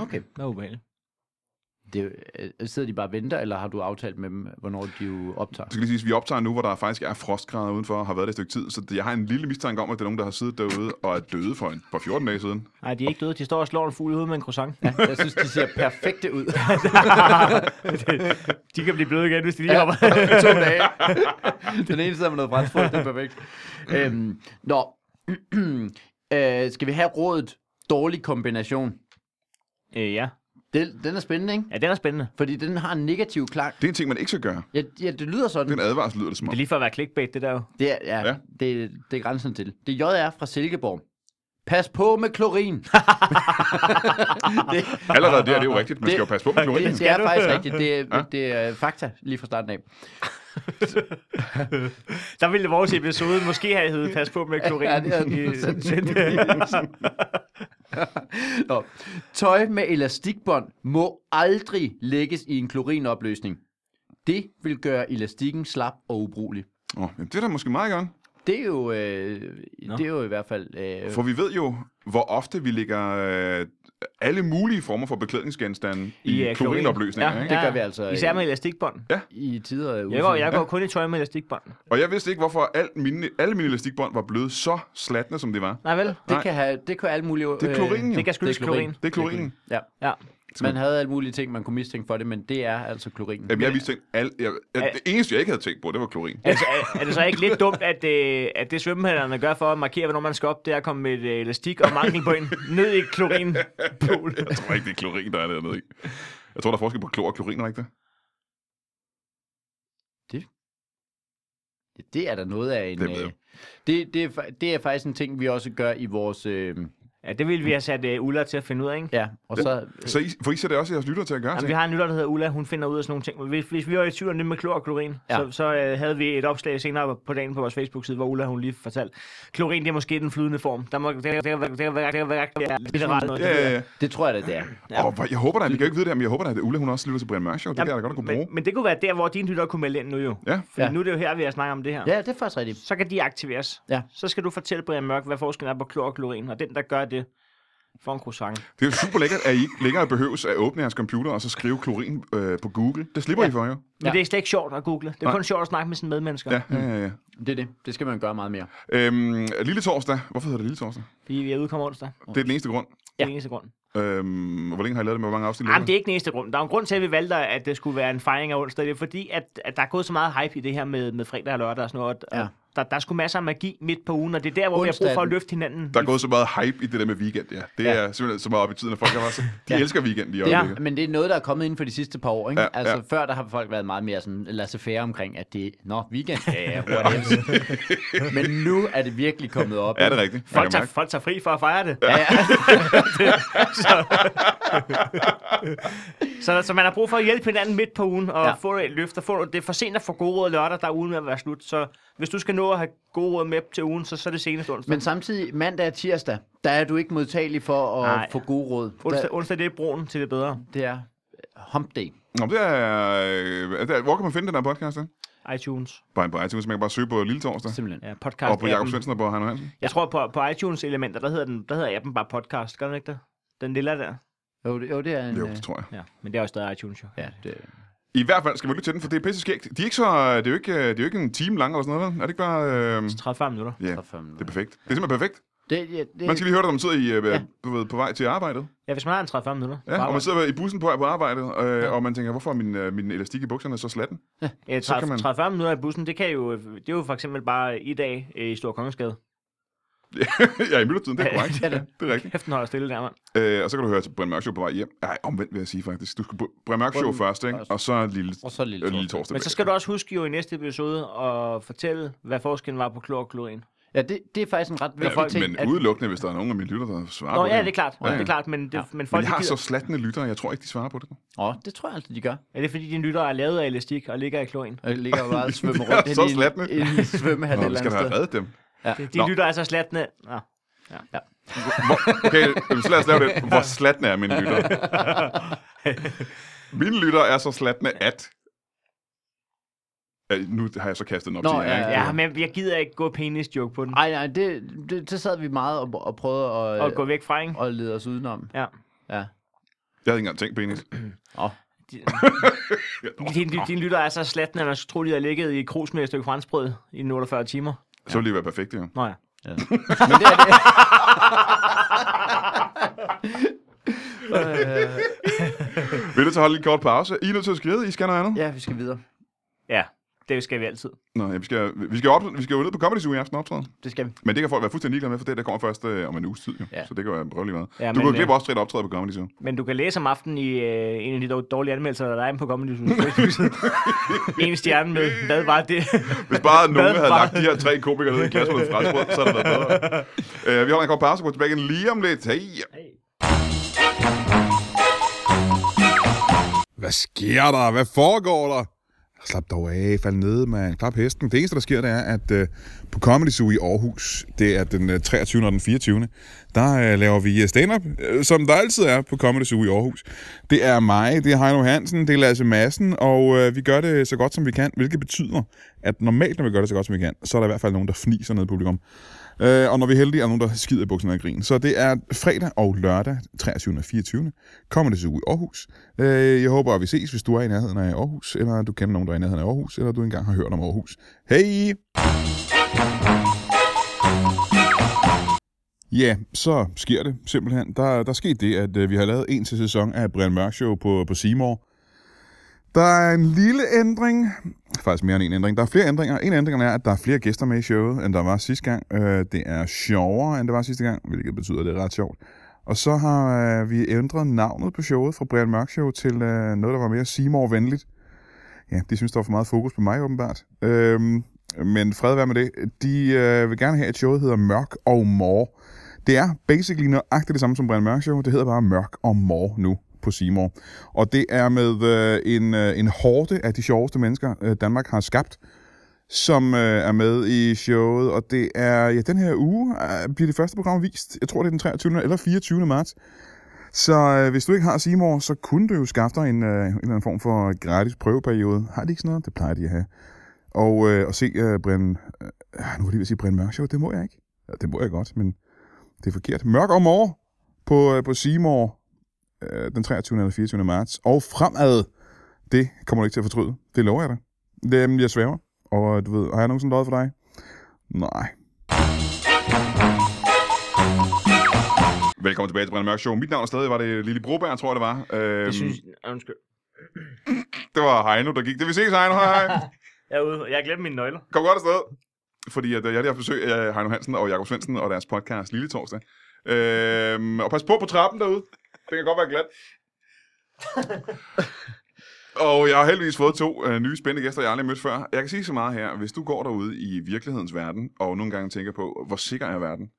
okay.
Nå, ubehageligt.
Det, øh, sidder de bare og venter, eller har du aftalt med dem, hvornår de optager?
Så skal lige sige, at vi optager nu, hvor der faktisk er frostgrader udenfor, og har været det et stykke tid, så jeg har en lille mistanke om, at det er nogen, der har siddet derude og er døde for en, for 14 dage siden.
Nej, de er ikke døde. De står og slår en fugl i hovedet med en croissant. Ja.
Jeg synes, de ser perfekte ud.
de kan blive bløde igen, hvis de lige hopper.
to dage. Den ene sidder med noget franskbrød, det er perfekt. Øhm, nå, øh, skal vi have rådet dårlig kombination?
øh, ja.
Den, den er spændende, ikke?
ja, den er spændende.
Fordi den har en negativ klang.
Det er en ting, man ikke skal gøre.
Ja, ja det lyder
Det er
sådan.
en advarsel, lyder det som
Det
om.
er lige for at være clickbait, det der jo.
Det er, ja,
Ja.
ja. Det, det er grænsen til. Det J er fra Silkeborg. Pas på med klorin. det, det,
Allerede der, det er jo rigtigt. Man
Det-
skal jo passe på med klorinen.
det, det er
du?
faktisk
Ja.
rigtigt. Det,
Ja.
er- det er fakta lige fra starten af.
Der ville vores episode måske have heddet Pas på med klorin.
Ja, det havde den
Øh,
sandsynligvis. Nå. Tøj med elastikbånd må aldrig lægges i en klorinopløsning. Det vil gøre elastikken slap og ubrugelig.
Åh, jamen, det er da måske meget godt.
Det er jo, øh,
Nå.
det er jo i hvert fald... Øh,
For vi ved jo, hvor ofte vi lægger øh, alle mulige former for beklædningsgenstande i,
I,
i
øh,
klorinopløsninger.
klorin.
Ja,
det
ikke?
gør vi altså øh,
Især med elastikbånd.
i tider øh,
Jeg går, jeg går kun i tøj med elastikbånd.
Og jeg vidste ikke, hvorfor al mine, alle mine elastikbånd var blevet så slatne, som det var.
Nej vel?
Det
Nej.
kan have, det kan have alle mulige...
Det er klorinen, jo.
Det kan skyldes
det er klorin.
klorin.
Det er klorinen.
Ja.
Ja.
Man havde alle mulige ting, man kunne mistænke for det, men det er altså klorinen.
Jamen, jeg vidste ikke, al, jeg, jeg, det eneste, jeg ikke havde tænkt på, det var klorin.
Altså, er, er det så ikke lidt dumt, at, øh, at det svømmehallerne gør for at markere, hvornår man skal op, det er at komme med et øh, elastik og mangel på en ned i klorin.
Jeg tror ikke, det er klorin, der er dernede i. Jeg tror, der er forskel på klor og klorin, er der ikke det?
Ja, Det er der noget af en...
Det ved jeg.
øh, det, det, er, fa- det er faktisk en ting, vi også gør i vores... Øh,
Ja, det ville vi have sat øh, Ulla til at finde ud af, ikke?
ja, og så...
Så I, for I sætter også jeres lytter til at gøre
Jamen, vi
ting.
har en lytter, der hedder Ulla, hun finder ud af sådan nogle ting. Hvis, hvis vi var i tvivl om det med klor og klorin, ja.
Ja.
så, så øh, havde vi et opslag senere på dagen på vores Facebook-side, hvor Ulla hun lige fortalte, klorin det er måske den flydende form. Der må det er- det er- det er- det er- det er mineral. noget.
Ja, ja, ja.
Det tror jeg, det er.
ja. Og hvor- jeg håber da, vi kan jo ikke vide det her, men jeg håber da, at Ulla hun også lytter til Brian Mørk Show. Det kan jeg da godt at kunne bruge.
men, men det kunne være der, hvor dine lytter kunne melde ind nu jo.
Ja.
Fordi
Ja.
nu er det jo her, vi har snakket om det her.
Ja, det er faktisk rigtigt.
så kan de aktiveres.
Ja.
Så skal du fortælle Brian Mørk, hvad forskellen er på klor og klorin, og den, der gør det, får en croissant.
Det er jo super lækkert, at I ikke længere behøves at åbne jeres computer og så skrive klorin øh, på Google. Det slipper ja. I for, jo.
Men ja. det er slet ikke sjovt at google. Det er
Nej.
kun sjovt at snakke med sine medmennesker.
Ja, ja, ja. ja.
Det er det. Det skal man gøre meget mere.
Øhm, lille torsdag. Hvorfor hedder det lille torsdag?
Fordi vi er udkommet onsdag.
Det er den eneste grund.
Ja. Det er eneste grund.
Øhm, hvor længe har I lavet det med? Hvor mange afsnit?
Jamen, det er ikke den eneste grund. Der er jo en grund til, at vi valgte, at det skulle være en fejring af onsdag. Det er fordi, at, at der er gået så meget hype i det her med, med fredag og lørdag og sådan noget. Og
Ja.
der, der er sgu masser af magi midt på ugen, og det er der, hvor vi har brug
Onsdag
for at
den-
løfte hinanden.
Der er gået så meget hype i det der med weekend, ja. Det
Ja.
er simpelthen så meget op i tiden, at folk er bare så... De
Ja.
elsker weekend i
Ja,
øjeblikket.
men det er noget, der er kommet inden for de sidste par år. Ikke?
Ja,
Ja, altså,
ja.
ja. før der har folk været meget mere sådan, lad os færre omkring, at det er, nå, weekend, ja, ja, what else? Men nu er det virkelig kommet op.
Ja, det er rigtigt. Man
Folk
kan
tager,
mærke-
folk tager fri for at fejre det.
Ja, ja.
Så, så man har brug for at hjælpe hinanden midt på ugen og
Ja.
ja. få et løft. Og få, det er for sent at få gode råd lørdag, der er ugen ved at være slut. Så hvis du skal nå at have gode råd med til ugen, så, så er det senest onsdag.
Men
Men,
samtidig, mandag og tirsdag, der er du ikke modtagelig for at
Nej.
få gode råd. Der,
onsdag, onsdag det er broen til det bedre.
det er hump day.
Nå, men det er, øh, det er, hvor kan man finde den her podcast? Den?
iTunes.
Bare på iTunes, man kan bare søge på Lille Torsdag.
Simpelthen.
Ja,
Og
podcast
på Jakob Svendsen og på Heino Hansen.
Jeg tror på, på iTunes elementer, der hedder, den, der hedder appen bare podcast. Gør den ikke det? Den lille der.
Jo, det, jo, det er en...
Jo,
øh,
det tror jeg.
Ja, men det er også stadig iTunes jo.
ja, det,
I hvert fald skal vi lytte til den, for det er pisse skægt. De er ikke så, øh, det er jo ikke, det er jo ikke en time lang eller sådan noget, vel? Er det ikke bare... Øh,
35 minutter.
ja,
Så fem
det er perfekt. Det er simpelthen perfekt.
det, ja, det,
Man skal lige høre det, når man sidder i, øh, du ved, på vej til arbejdet.
Ja, hvis man har en 35 minutter.
Ja,
bare
og man sidder i bussen på vej på arbejdet, øh, og man tænker, hvorfor er min, øh, min elastik i bukserne så slatten?
Ja,
Så kan
30,
man-
35 minutter i bussen, det, kan jo, det er jo for eksempel bare i dag øh, i Stor Kongensgade.
ja, i myldretiden, det er korrekt.
Ja, det er
Ja,
det.
det er rigtigt.
Hæften holder stille der, mand.
Øh, og så kan du høre til Brian Mørk Show på vej hjem. Nej, omvendt vil jeg sige faktisk. Du skal på Brian Mørk Show
Brian
først, ikke?
først.
Og så Lille,
Og så Lille
øh, lille
Torsdag.
Torsdag.
Men så skal du også huske jo i næste episode at fortælle, hvad forskellen var på klor og klorin.
ja det, det er faktisk en ret vigtig
ja,
ting.
men udelukkende, hvis der er nogen af mine lytter, der svarer
Nå
på
ja,
det.
det er klart,
Ja, ja.
det er klart men, det,
Ja.
men folk
Men jeg har
gider-
så slattende lyttere, jeg tror ikke, de svarer på det.
Åh, det tror jeg altid, de gør.
Er det fordi, dine lyttere er lavet af elastik og ligger i klorin?
Og ligger jo bare og svømmer
Det er
rundt
så
inde
slattende.
i, en- inde i svømmehal et
Nå, vi
eller
skal
andet
da
sted.
have reddet dem. Nå.
Dine lyttere er så slatne. Nå.
Okay, øh, så lad os lave det. Hvor slattende er mine lyttere? mine lyttere er så slattende, at... Ja, nu har jeg så kastet den op
Nå,
til jer,
ja,
ikke?
Ja, men jeg gider ikke gå penis-joke på den.
Nej, nej, det, det, det sad vi meget og, og prøvede at,
Og gå væk fra, ikke?
at lede os udenom.
Ja.
Ja.
Jeg havde ikke engang tænkt penis.
Åh,
Dine, dine, dine lytter er så slatne, at man skulle tro, de havde ligget i krus med et stykke franskbrød i 48 timer.
Så ville det være perfekt, jo.
Nå ja.
ja. Men det er det.
Vil du så holde en kort pause? I er nødt til at skride, I skal noget andet?
Ja, vi skal videre.
Ja, det skal vi altid.
Nå, ja, vi skal, vi skal, op, vi skal jo ned på Comedy Zoo i aften og optræde.
Det skal vi.
Men det kan folk være fuldstændig ligeglade med, for det der kommer først øh, om en uges tid, jo.
Ja.
Ja. Så det kan jo være prøvelig meget.
Ja,
Ja, du
men,
kunne
øh,
klippe også tre optræde på Comedy Zoo.
Men du kan læse om aftenen i øh, en af de dår- dårlige anmeldelser, der er inde på Comedy Zoo. en stjerne med, hvad var det?
Hvis bare nogen havde
var-
lagt de her tre komikere ned i kassen med franskbrød, så havde det været bedre. Øh, vi holder en kort pause på tilbage igen lige om lidt. Hey.
Hvad sker der? Hvad foregår der? Slap dog af, fald ned, mand. Klap hesten. Det eneste, der sker, det er, at øh, på Comedy Zoo i Aarhus, det er den øh, 23. og den 24., der øh, laver vi øh, stand-up, øh, som der altid er på Comedy Zoo i Aarhus. Det er mig, det er Heino Hansen, det er Lasse Madsen, og øh, vi gør det så godt, som vi kan, hvilket betyder, at normalt, når vi gør det så godt, som vi kan, så er der i hvert fald nogen, der fniser ned i publikum. Øh, og når vi er heldige, er der nogen, der skider i bukserne af grin. Så det er fredag og lørdag, 23. og 24. Kommer det så ud i Aarhus. Øh, jeg håber, at vi ses, hvis du er i nærheden af Aarhus, eller du kender nogen, der er i nærheden af Aarhus, eller du engang har hørt om Aarhus. Hej! Ja, så sker det simpelthen. Der, der skete det, at øh, vi har lavet en til sæson af Brian Mørk Show på, på Seymour. Der er en lille ændring. Faktisk mere end en ændring. Der er flere ændringer. En af ændringerne er, at der er flere gæster med i showet, end der var sidste gang. Øh, det er sjovere, end det var sidste gang, hvilket betyder, at det er ret sjovt. Og så har øh, vi ændret navnet på showet fra Brian Mørk Show til øh, noget, der var mere Seymour-venligt. Ja, de synes, der var for meget fokus på mig, åbenbart. Øhm, men fred være med det. De øh, vil gerne have, at showet hedder Mørk og Mor. Det er basically nøjagtigt det samme som Brian Mørk Show. Det hedder bare Mørk og Mor nu på Seymour. Og det er med øh, en, øh, en hårde af de sjoveste mennesker, øh, Danmark har skabt, som øh, er med i showet. Og det er, ja, den her uge øh, bliver det første program vist. Jeg tror, det er den 23. eller 24. marts. Så øh, hvis du ikke har Seymour, så kunne du jo skaffe dig en, øh, en eller anden form for gratis prøveperiode. Har de ikke sådan noget? Det plejer de at have. Og øh, at se øh, Brian... Øh, nu var det ved at sige Brian Mørk Show. Det må jeg ikke. Ja, det må jeg godt, men det er forkert. Mørk om år på, øh, på Seymour øh, den 23. eller 24. marts. Og fremad, det kommer du ikke til at fortryde. Det lover jeg dig. Det, øhm, jeg svæver. Og øh, du ved, har jeg nogensinde løjet for dig? Nej.
Velkommen tilbage til Brian Mørk Show. Mit navn er stadig, var det Lille Broberg, tror jeg det var. Øhm,
Jeg synes... Undskyld.
Det var Heino, der gik. Det vi ses, Heino. Hej, hej.
Jeg er ude. Jeg har glemt mine nøgler.
Kom godt afsted. Fordi at, øh, jeg har lige haft besøg af Heino Hansen og Jakob Svendsen og deres podcast Lille Torsdag. Øhm, og pas på på trappen derude. Det kan godt være glat. og jeg har heldigvis fået to øh, nye spændende gæster, jeg aldrig har mødt før. Jeg kan sige så meget her. Hvis du går derude i virkelighedens verden, og nogle gange tænker på, hvor sikker er verden?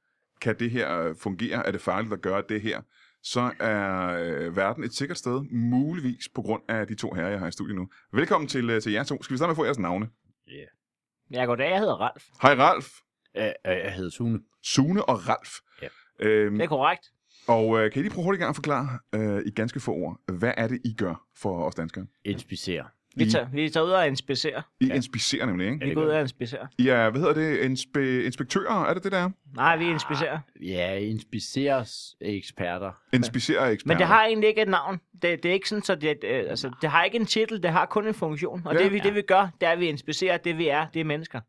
Kan det her øh, fungere? Er det farligt at gøre det her? så er øh, verden et sikkert sted, muligvis på grund af de to herrer, jeg har i studiet nu. Velkommen til, øh, til jer to. Skal vi starte med at få jeres navne?
Ja, goddag, jeg hedder Ralf.
Hej Ralf,
Jeg, jeg hedder Sune.
Sune og Ralf.
Ja.
Øhm,
Det er korrekt.
og øh, kan I lige prøve hurtigt i gang at forklare øh, i ganske få ord, hvad er det, I gør for os danskere?
Inspicerer.
Vi
I-
tager, vi tager ud og inspicerer.
I ja. inspicerer nemlig, ikke?
Vi
det
går ud
gør
og inspicerer.
I er, hvad hedder det, inspe- inspektører, er det det der? er?
Nej, vi inspicerer.
Ja, inspiceres eksperter.
Inspicerer eksperter.
Men det har egentlig ikke et navn. Det, det er ikke sådan, så det, øh, altså, det har ikke en titel, det har kun en funktion. Og
Ja.
det, vi, det vi gør, det er, at vi inspicerer det, vi er. Det er mennesker.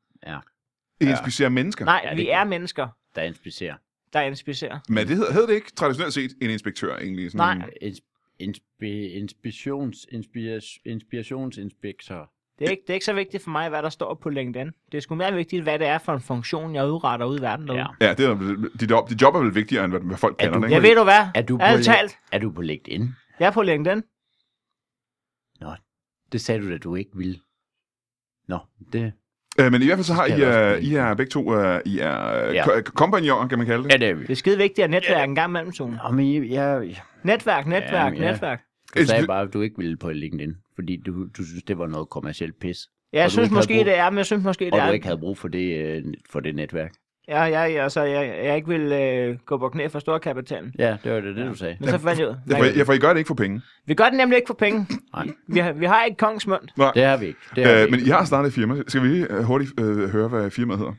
I inspicerer mennesker.
Nej,
Ja,
ja,
det
vi
er
er mennesker,
Der inspicerer.
der inspicerer.
Men det hedder, hedder det ikke traditionelt set en inspektør egentlig? Sådan,
Nej.
Ins- inspi- inspirations, inspiras- inspirationsinspektør.
Det er, ikke, det er ikke så vigtigt for mig, hvad der står på LinkedIn. Det er sgu mere vigtigt, hvad det er for en funktion, jeg udretter ud i verden derude.
Ja.
Ja, det er, dit, job, dit job er vel vigtigere, end hvad, hvad folk
Er
kalder
du-
det,
Jeg
ikke?
ved du hvad?
Er du, på,
Ærligt talt,
er du på LinkedIn?
jeg er på LinkedIn.
Det sagde du da, du ikke ville. Nå, det...
Øh, men i hvert fald så har
Skal
I,
jeg også på
øh, I er begge to, øh, I er øh,
Ja.
ko- kompagnoner, kan man kalde det.
Ja, det er vi.
Det er skide vigtigt at netværke en gang imellem, Sune.
Nå, men jeg, jeg,
Netværk, netværk,
Jamen, ja.
netværk.
jeg
Inspir-
sagde bare, at du ikke ville på LinkedIn, fordi du, du synes, det var noget kommercielt pis.
Ja,
Og
jeg
du
synes
ikke havde
måske,
brug-
det er, men jeg synes måske, det
Og
er.
du ikke havde brug for det, øh, for det netværk.
Ja, ja, ja, så jeg, jeg ikke vil øh, gå på knæ for storkapitalen.
Ja, det var det, det du sagde.
Men så fandt jeg ud.
Ja, for, ja, for I gør det ikke for penge.
Vi gør det nemlig ikke for penge.
Nej,
Vi har, vi har ikke kongsmund.
det har vi ikke. Det har vi
Øh,
ikke.
men I har startet et firma. Skal vi lige øh, hurtigt øh, høre, hvad firmaet hedder?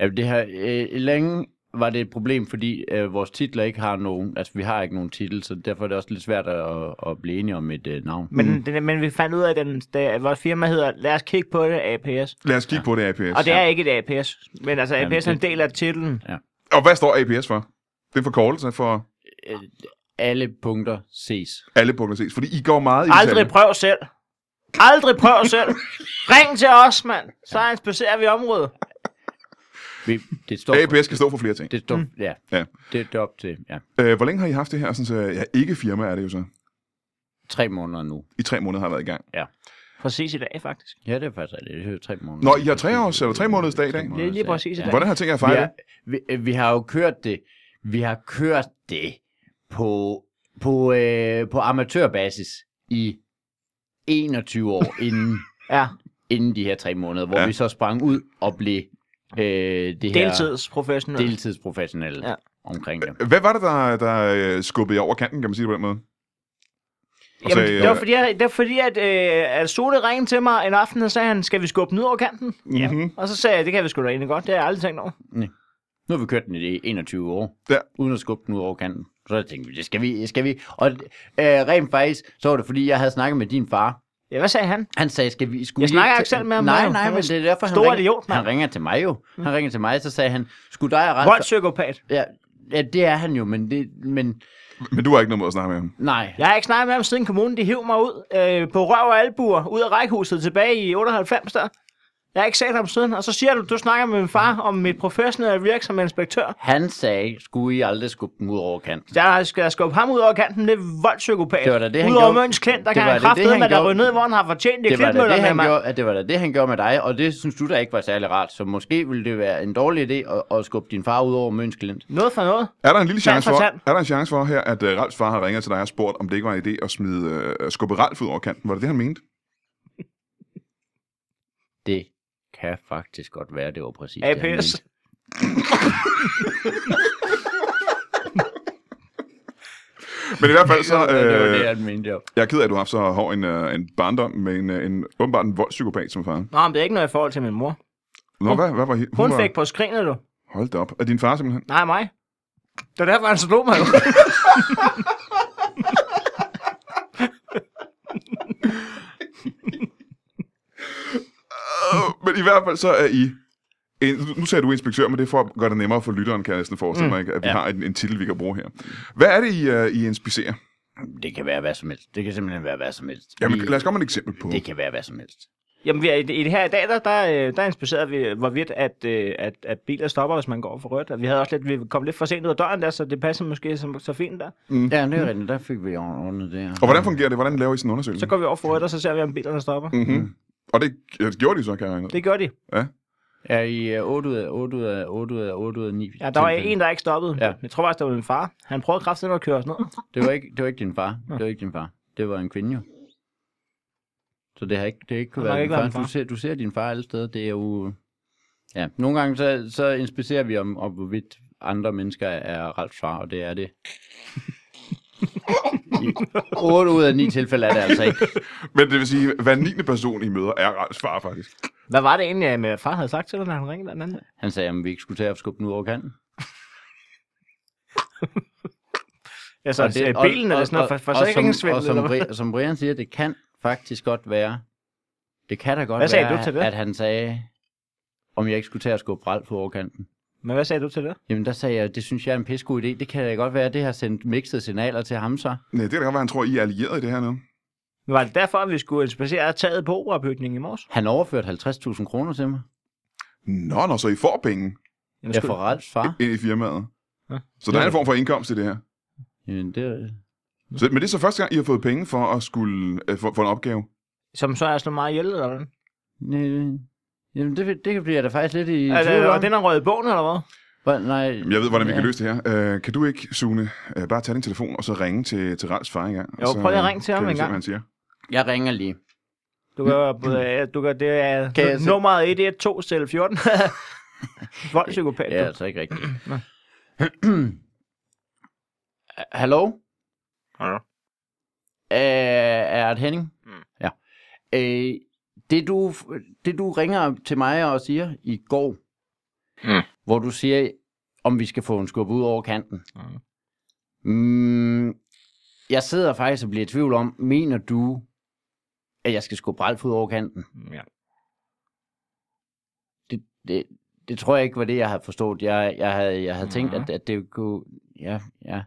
Ja, det her, øh, længe var det et problem, fordi øh, vores titler ikke har nogen, altså vi har ikke nogen titel, så derfor er det også lidt svært at, at blive enige om et øh, navn.
Men, mm. den, men vi fandt ud af, at den, da, vores firma hedder, lad os kigge på det, APS.
Lad os kigge ja. på det, APS.
Og det er ikke et APS. Men altså,
Jamen,
APS er en
det-
del af titlen.
Og hvad står APS for? Det er en forkortelse for
Øh, alle punkter ses.
alle punkter ses. Fordi I går meget i
Aldrig
detaljen.
prøv selv. Aldrig prøv selv. Ring til os, mand. Så inspicerer vi området.
Vi, det står for,
APS kan stå for flere ting.
det står, mm. ja,
Ja.
det er op til ja,
Øh, hvor længe har I haft det her? Sådan, så, ja, ikke firma er det jo så.
tre måneder nu.
I tre måneder har I været i gang.
Præcis i dag, faktisk.
Ja, det er faktisk rigtigt. Det er tre måneder.
Nå, I har tre års- eller tre måneders dag i dag?
Tre
Det er lige præcis i dag.
Hvordan har tænkt jer at fejre
vi,
det?
har, vi, øh, vi har jo kørt det. Vi har kørt det på, på, øh, på amatørbasis i 21 år inden,
Ja,
inden de her tre måneder, hvor
Ja.
ja. vi så sprang ud og blev øh, det her
deltidsprofessionel.
deltidsprofessionelle
Ja.
ja. omkring det.
Hvad var det, der, der øh, skubbede jer over kanten, kan man sige det på den måde? Og
Jamen,
sagde,
det var
øh,
fordi, jeg, det var fordi at, øh, at Sole ringede til mig en aften, og sagde han, skal vi skubbe den ud over kanten?
Mhm.
Og så sagde jeg, det kan vi sgu da egentlig godt, det har jeg aldrig tænkt over.
Nu har vi kørt den i 21 år,
Ja.
uden at skubbe den ud over kanten. Så tænkte vi, det skal vi, det skal vi. Og øh, rent faktisk, så var det fordi, jeg havde snakket med din far,
Ja, hvad sagde han?
Han sagde, skal vi... Skulle
Jeg
vi
snakker
ikke-
ikke selv med ham,
Nej,
Mario.
nej,
Han
men
er
det er derfor, han
stor
ringer,
idiot, mand. Mm.
han ringer til mig jo. Han ringer til mig, så sagde han, skulle dig og Ralf...
Voldpsykopat.
Ja, ja, det er han jo, men, det, men
Men du har ikke noget måde at snakke med ham.
nej.
Jeg har ikke snakket med ham siden kommunen, de hiv mig ud øh, på røv og albuer, ud af rækhuset tilbage i 98 der. Jeg har ikke set ham siden, og så siger du, du snakker med min far om mit professionelle virke som inspektør.
Han sagde, skulle I aldrig skubbe den ud over kanten.
Der skal jeg skubbe ham ud over kanten, det er voldpsykopat.
Det var da det, han
Udover
gjorde.
Møns Klint, der
Det
kan
var da
han
det,
kraftedeme,
han
med, der
gjorde.
ryger ned, hvor han har fortjent i
Det var, da det,
klintmøllerne,
han
mand.
gjorde, at det var da det, han gjorde med dig, og det synes du da ikke var særlig rart. Så måske ville det være en dårlig idé at, at skubbe din far ud over Møns Klint.
Noget for noget.
Er der en lille chance for,
for tand.
er der en chance for her, at uh, Ralfs far har ringet til dig og spurgt, om det ikke var en idé at smide, uh, skubbe Ralf ud over kanten? Var det det, han mente?
Det kan faktisk godt være, det var præcis det, han
APS.
mente.
Men i hvert fald så...
Ja, det var det,
Uh,
han mente, jo.
jeg er ked af, at du har haft så hård en, uh, en barndom med en, uh, en åbenbart en voldspsykopat som far.
Nå, men det er ikke noget i forhold til min mor.
Nå, hvad, hvad var he-
Hun
var-
fik på skrinet, du.
Hold da op. Er din far simpelthen?
Nej, mig. Det var derfor, han slog mig. jo.
Uh, men i hvert fald så er I... En, nu sagde du inspektør, men det er for at gøre det nemmere for lytteren, kan jeg næsten forestille mig, ikke? at vi ja.
Ja.
har en, en titel, vi kan bruge her. Hvad er det, I, uh, I inspicerer?
Det kan være hvad som helst. Det kan simpelthen være hvad som helst.
Jamen,
Vi-
lad os komme med et eksempel på.
Det kan være hvad som helst.
Jamen, vi er, i, det- i det her i dag, der, der, øh, der inspicerede vi, hvorvidt at, øh, at, at biler stopper, hvis man går for rødt. Og vi havde også lidt, vi kom lidt for sent ud af døren der, så det passer måske som, så fint der.
Ja, det er rigtigt. Der fik vi ordnet det her.
Og hvordan fungerer det? Hvordan laver I sådan en undersøgelse? Mhm.
Så går vi over for rødt, og så ser vi, om bilerne stopper.
Mm-hmm. Og det øh, gjorde de så, kan jeg regne ud.
Det gør de.
Ja.
Er i 8 ud af 8 ud af 8 ud af 8 ud af 9
Ja, der var en, der ikke stoppede.
Ja.
Ja. Jeg tror faktisk, det var min far. Han prøvede kraftigt at køre os ned.
Det var ikke, det var ikke din far. Det var ikke din far. Det var en kvinde jo. Så det har ikke, det har ikke kunne
Det har
være din
ikke
far.
været min
Du,
far.
ser, du ser din far alle steder. Det er jo... Ja, nogle gange så, så inspicerer vi om, om, hvorvidt andre mennesker er Ralfs far, og det er det. I 8 ud af 9 tilfælde er det altså ikke.
Men det vil sige, hver 9. person, I møder, er Ralfs far, faktisk.
Hvad var det egentlig, at min far havde sagt til dig, når han ringede den anden dag?
Han sagde, at vi ikke skulle tage at skubbe den ud over kanten.
Altså, og det, bilen eller sådan noget, for,
og som-
forsikringssvindel,
Og som,
eller hvad?
Bri- som Brian siger, det kan faktisk godt være, det kan da godt
Hvad sagde
være,
du til det?
at han sagde, om jeg ikke skulle tage at skubbe Ralf på overkanten.
Men hvad sagde du til det?
Jamen der sagde jeg, det synes jeg er en pissegod idé. Det kan da godt være, at det har sendt mixede signaler til ham så.
Nej, det kan da godt være, han tror, I er allieret i det her nu.
Men var det derfor, at vi skulle inspicere taget på operabygningen i morges?
Han overførte 50.000 kroner til mig.
Nå, nå, så I får penge
Jamen,
Jeg
skulle-
får Ralfs far.
ind i firmaet.
Ja.
Så der er en form for indkomst i det her.
Jamen, det,
Så, men det er så første gang, I har fået penge for at skulle øh, få, få en opgave.
Som så er slået meget ihjel, eller hvad?
nej, jamen det, det bliver jeg da faktisk lidt i
Altså,
tvivl om.
og den er røget i bogen, eller hvad?
Hvor- Nej,
Jamen, Jeg ved, hvordan vi kan løse det her. Øh, kan du ikke, Sune, øh, bare tage din telefon og så ringe til, til Ralfs far engang? og
Jo,
så,
prøv lige at
øh,
ringe til
kan
ham
vi se,
engang.
hvad han siger.
jeg ringer lige.
Du gør, både, du gør det er
Kan jeg se-
nummeret 112 selv 14. Voldpsykopat.
Det er
Ja.
altså ikke rigtigt. Hallo?
Hallo?
Øh, er det Henning?
Mm.
Ja. Øh, det, du, det du ringer til mig og siger i går,
Mm.
hvor du siger, om vi skal få en skub ud over kanten. Mm. jeg sidder faktisk og bliver i tvivl om, mener du, at jeg skal skubbe Ralf ud over kanten?
Ja.
det, det, det tror jeg ikke var det, jeg havde forstået. Jeg, jeg havde, jeg havde tænkt,
Mhm.
at, at det kunne... Ja, ja. Ah,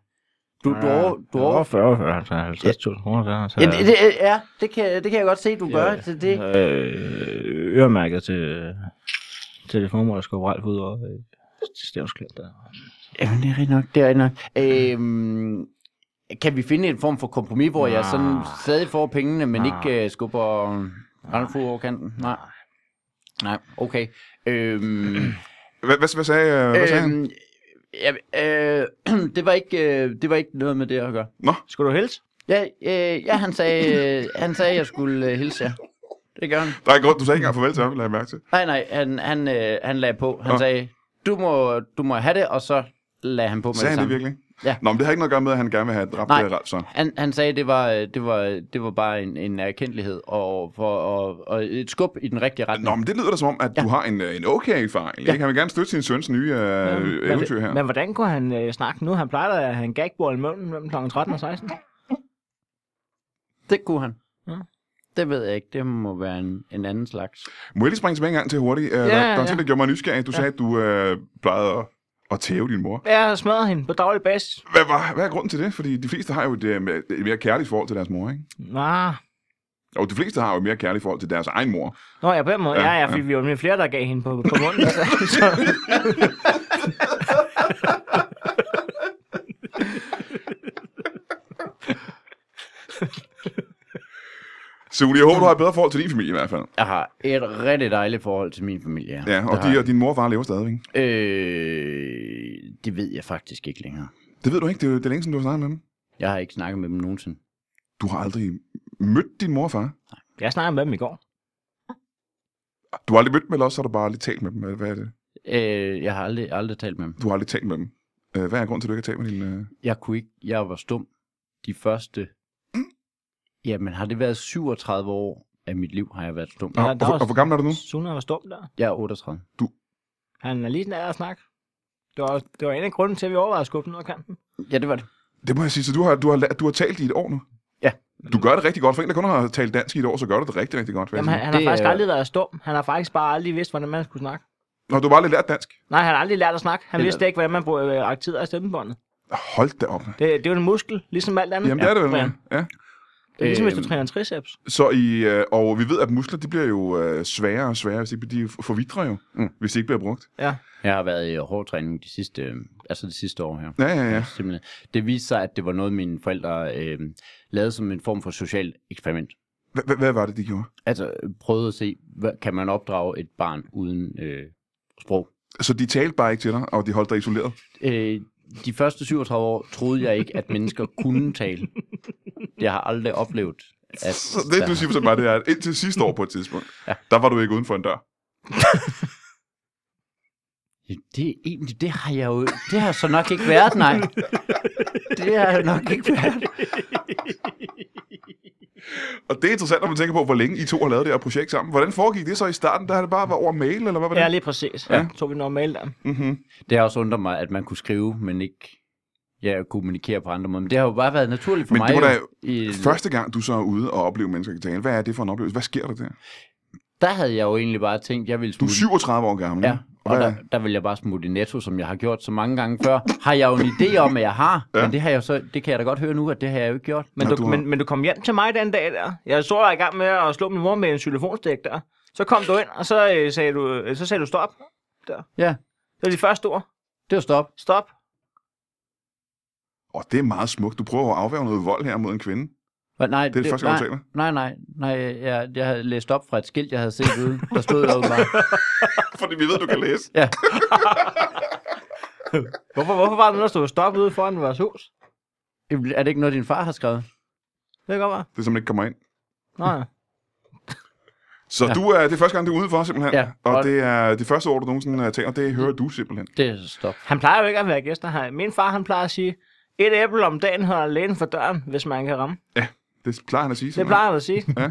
Du, du,
Ja,
over, du
jeg
over...
overfører for 50.000 kroner til ham, så
Ja, det, det, ja det, kan, det kan jeg godt se, du gør. Så det,
Øh, øremærket til, til det formål, at skubbe Ralf ud over øh, til stævnsklædt der.
jamen, det er rigtigt nok. Det er rigtigt nok. Øhm, kan vi finde en form for kompromis, hvor jeg sådan
Nej.
stadig får pengene, men
Nej.
ikke uh, skubber Randolph ud over kanten? Nej. Nej, okay. Øhm,
Hvad, hvad, hvad sagde, øh, hvad sagde han?
øhm, ja, øh, det, var ikke, øh, det var ikke noget med det at gøre.
Skulle du hilse?
Ja, øh, ja han, sagde, øh, han sagde, at jeg skulle øh, hilse jer. Det gør han.
Der er ikke grund, du sagde ikke engang farvel til ham, lad jeg mærke til.
Nej, nej, han, han, øh, han lagde på. Han
Nå.
sagde, du må, du må have det, og så lagde han på med
Sagde
det
han det
samme.
virkelig?
Ja.
Nå, men det har ikke noget at gøre med, at han gerne vil have dræbt
Nej.
øh, Ralf, så.
han, han sagde, det var, øh, det var, det var bare en, en erkendelighed og, for, og, og et skub i den rigtige retning.
Nå, men det lyder da som om, at ja. du har en, øh, en okay far, egentlig,
Ja.
ikke? Han vil gerne støtte sin søns nye øh,
men-
eventyr her.
Men hvordan kunne han øh, snakke nu? Han plejer da, at han gagbor i munden mellem kl. 13 og 16.
Det kunne han.
Ja.
Det ved jeg ikke. Det må være en, en anden slags.
Må jeg lige springe tilbage en gang til hurtigt? Øh, der, der
ja,
er en
ja.
ting, der gjorde mig nysgerrig. Du sagde, at du øh, plejede at, at tæve din mor.
Jeg smadrer hende på daglig basis.
Hvad, var, hvad er grunden til det? Fordi de fleste har jo et, øh, et mere kærligt forhold til deres mor, ikke?
Nå,
Og de fleste har jo et mere kærligt forhold til deres egen mor.
Nå ja, på den måde.
Ja,
Ja, ja, fordi
ja.
vi var nemlig flere, der gav hende på, på munden. Så,
Så jeg håber, du har et bedre forhold til din familie i hvert fald.
Jeg har et rigtig dejligt forhold til min familie.
Ja, og,
Det har
de, og din mor og far lever stadigvæk.
jeg. øh, det ved jeg faktisk ikke længere.
Det ved du ikke. Det er, jo- det er længe siden, du har snakket med dem.
Jeg har ikke snakket med dem nogensinde.
Du har aldrig mødt din mor og far.
jeg snakkede med dem i går.
Du har aldrig mødt dem, eller også har du bare lige talt med dem. Hvad- Hvad er det?
Øh, jeg har aldrig, aldrig talt med dem.
Du har aldrig talt med dem. Øh, Hvad er grunden til, at du ikke har talt med din... øh,
Jeg kunne ikke, jeg var stum de første, jamen har det været 37 år af mit liv, har jeg været stum.
Nå,
der
og, hvor,
også-
og hvor gammel er du nu?
Suna var stum der.
Jeg er 38.
Han er lige sådan der at snakke. Det var, det var en af grunden til, at vi overvejede at skubbe den ud af kanten.
Ja, det var det.
Det må jeg sige. Så du har, du har, la- du har talt i et år nu?
Ja.
Du gør det rigtig godt. For en, der kun har talt dansk i et år, så gør du det rigtig, rigtig godt. vil jeg
Jamen, han,
sige.
han har
Det
faktisk
er-
aldrig været stum. Han har faktisk bare aldrig vidst, hvordan man skulle snakke.
Nå, du har bare aldrig lært dansk.
Nej, han har aldrig lært at snakke. Han
Det er-
vidste ikke, hvordan man bruger øh, aktider af stemmebåndet.
Hold da op.
Det, det er jo en muskel, ligesom alt andet.
Jamen, det er det
Brian.
vel. Mm. Ja.
Det er ligesom, hvis du
Øhm.
træner triceps.
Så I, øh, og vi ved, at muskler de bliver jo øh, sværere og sværere, hvis de, de forvidrer jo, mm. hvis de ikke bliver brugt.
Jeg har været i hårdtræning de sidste, øh, altså det sidste år her.
Ja, ja, ja.
Simpelthen. Det viste sig, at det var noget, mine forældre øh, lavede som en form for socialt eksperiment.
Hva- hva- Hvad var det, de gjorde?
Altså øh, prøvede at se, hvad, kan man opdrage et barn uden øh, sprog.
Så de talte bare ikke til dig, og de holdt dig isoleret?
Øh, de første 37 år troede jeg ikke, at mennesker kunne tale. Jeg har aldrig oplevet, at...
Så det, du siger så bare, det er, at indtil sidste år på et tidspunkt, ja. der var du ikke uden for en dør.
Det, er egentlig, det har jeg jo... Det har så nok ikke været, nej. Det har jeg nok ikke været.
Og det er interessant, når man tænker på, hvor længe I to har lavet det her projekt sammen. Hvordan foregik det så i starten? Der har det bare været over mail, eller hvad var det?
Ja, lige præcis. Ja. Tog vi normalt der.
Mm-hmm.
Det har også undret mig, at man kunne skrive, men ikke ja, kommunikere på andre måder. Men det har jo bare været naturligt for
Men
mig.
det var da
jo i,
første gang, du så er ude og opleve mennesker kan tale. Hvad er det for en oplevelse? Hvad sker der der?
Der havde jeg jo egentlig bare tænkt, jeg ville
Du
smutte...
er 37 år gammel.
Ja,
og
og
hvad,
der, der vil jeg bare smutte i Netto, som jeg har gjort så mange gange før. Har jeg jo en idé om, at jeg har, ja. men det, har jeg jo så, det kan jeg da godt høre nu, at det har jeg jo ikke gjort.
Men,
Nå,
du,
du
du
har-
men, men du kom hjem til mig den dag der. Jeg så, jeg var i gang med at slå min mor med en xylofonstik der. Så kom du ind, og så, øh, sagde, du, øh, så sagde du stop.
Ja,
Det var de første ord.
det var stop.
Stop.
Åh, det er meget smukt. Du prøver at afværge noget vold her mod en kvinde.
Hva- Nej,
Det er det første gang, du taler.
nej, nej, nej, jeg, jeg havde læst op fra et skilt, jeg havde set ude. Der stod jo bare,
Fordi vi ved, du kan læse.
Hvorfor, hvorfor var det noget, der stod stop ude foran vores hus?
er det ikke noget, din far har skrevet?
Det kan godt
Det
være.
er simpelthen ikke kommer ind.
Nå ja.
Så ja.
Ja.
du er, det er første gang, du er udenfor simpelthen.
Ja,
og,
og-
det er de første ord, du nogensinde øh, taler, det hører du simpelthen.
Det er stop.
Han plejer jo ikke at være gæster her. Min far, han plejer at sige, et æble om dagen holder lægen for døren, hvis man kan ramme.
Det plejer han at sige.
Det
simpelthen.
plejer han at sige.
Ja.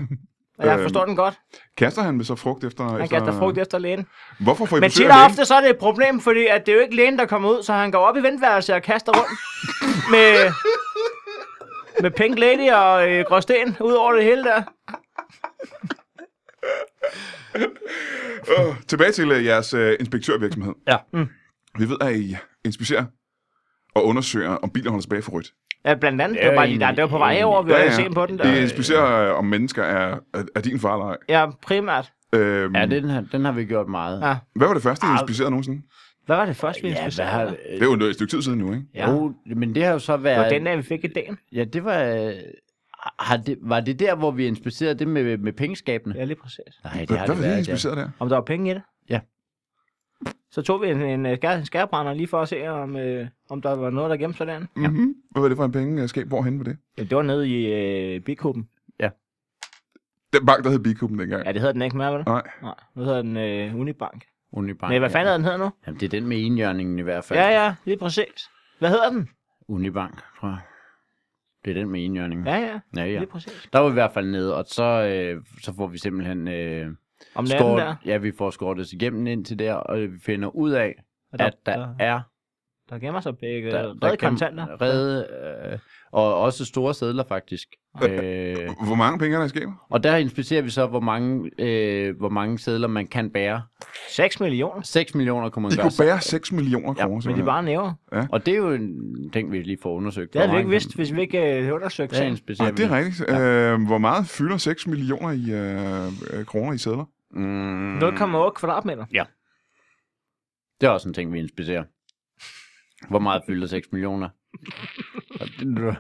Og jeg
Øhm,
forstår den godt.
Kaster han med så frugt efter...
Han
efter-
kaster frugt efter lægen.
Hvorfor får I
Men
besøg
tit
af
og
lægen?
ofte, så er det et problem, fordi at det er jo ikke lægen, der kommer ud, så han går op i ventværelset og kaster rundt med, med Pink Lady og øh, Gråsten ud over det hele der.
Øh, tilbage til øh, jeres øh, inspektørvirksomhed.
Ja.
Mm. Vi ved, at I inspicerer og undersøger, om biler holder tilbage for rødt.
Ja, blandt andet.
Det
Det,
er
var bare
jo
lige der.
en-
Det var på vej over, vi var ja, ja. på den
I
der.
inspicerer, øh, om mennesker er, er, er din far eller ej.
Ja, primært.
Øhm,
Ja, det, den, har, den har vi gjort meget.
Ja.
Hvad var det første, I inspicerede nogensinde?
Hvad var det første, vi
ja
skulle
hvad har,
sige?
Det er jo et stykke tid siden nu, ikke?
ja. Jo, men det har jo så
Det var
været...
den dag, vi fik i dagen.
Ja, det var... øh, Har det, var det der, hvor vi inspicerede det med, med pengeskabene?
Ja, lige præcis.
Nej, det
Hvad,
har
hvad var det, I
det været. ja.
inspicerede der?
Om der var penge i det?
Ja.
Så tog vi en, en, øh, skær, en skærbrænder lige for at se, om, øh, om der var noget, der gemte sig derinde.
Mm-hmm. Hvad var det for en pengeskab? Hvorhen var det?
Ja, det var nede i øh, Bikuben.
Den bank, der hed Bikuben dengang.
Ja, det hedder den ikke mere, vel?
Nej.
Nej, nu hedder den øh, Unibank.
Unibank.
Nej, hvad fanden
ja.
hedder den hedder nu?
Jamen, det er den med enhjørningen i hvert fald.
Ja, ja, lige præcis. Hvad hedder den?
Unibank, tror jeg. Det er den med enhjørningen.
Ja, ja,
ja, ja.
lige præcis.
Der var vi i hvert fald nede, og så, øh, så får vi simpelthen... Øh,
Om natten
skåret,
der,
ja, vi får skåret os igennem ind til der, og vi finder ud af,
Og der-
at der
der-
er
der gemmer sig begge
der,
redde kontanter.
Redde, øh, og også store sædler faktisk. Øh,
Hvor mange penge er der i skabet?
og der inspicerer vi så, hvor mange, øh, hvor mange sædler man kan bære.
6 millioner,
6 millioner kunne man
I
gøre.
kunne
sig.
bære 6 millioner
Ja,
kroner.
men de
simpelthen.
er bare næver.
Og det er jo en ting, vi lige får undersøgt.
Det havde
Hvor
vi ikke
mange
vidst, hvis vi ikke øh, havde undersøgt
kan- Der
sagen.
inspicerer
Nej, Ah, det er
vi.
rigtigt. Ja. Øh, hvor meget fylder 6 millioner i, øh, øh, kroner i sædler?
Mm,
0,8 kvadratmeter.
det er også en ting, vi inspicerer. Hvor meget fylder 6 millioner? Og det-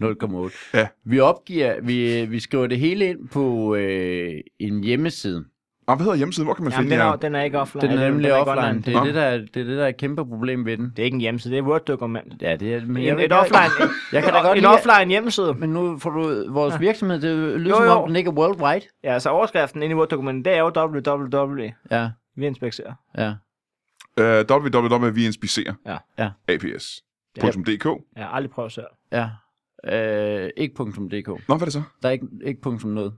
0,8.
Ja.
Vi opgiver, vi, vi skriver det hele ind på øh, en hjemmeside.
Og Ah, hvad hedder hjemmesiden? Hvor kan man
Jamen,
finde
den,
jer?
er, den er ikke offline.
Den er
Ja,
nemlig
ikke
offline. Det
Nå.
er det, der, er- det er det, der er et kæmpe problem ved den.
Det er ikke en hjemmeside, det er et Word-dokument.
Ja, det er... Men
En,
jeg,
et
jeg,
offline,
Jeg kan da godt
en
lide, at-
offline hjemmeside.
men nu får du vores virksomhed, det lyder
Jo,
som
jo.
om, den ikke er worldwide.
Ja, så overskriften inde i Word-dokumentet, det er jo www.
Ja,
Vi inspekterer.
ja.
Øh, www.viinspicerer.
Ja.
Ja.
APS. .dk.
Jeg har aldrig prøvet selv.
Ja. Øh, ikke .dk.
Nå, hvad er det så?
Der er ikke, ikke punktum noget.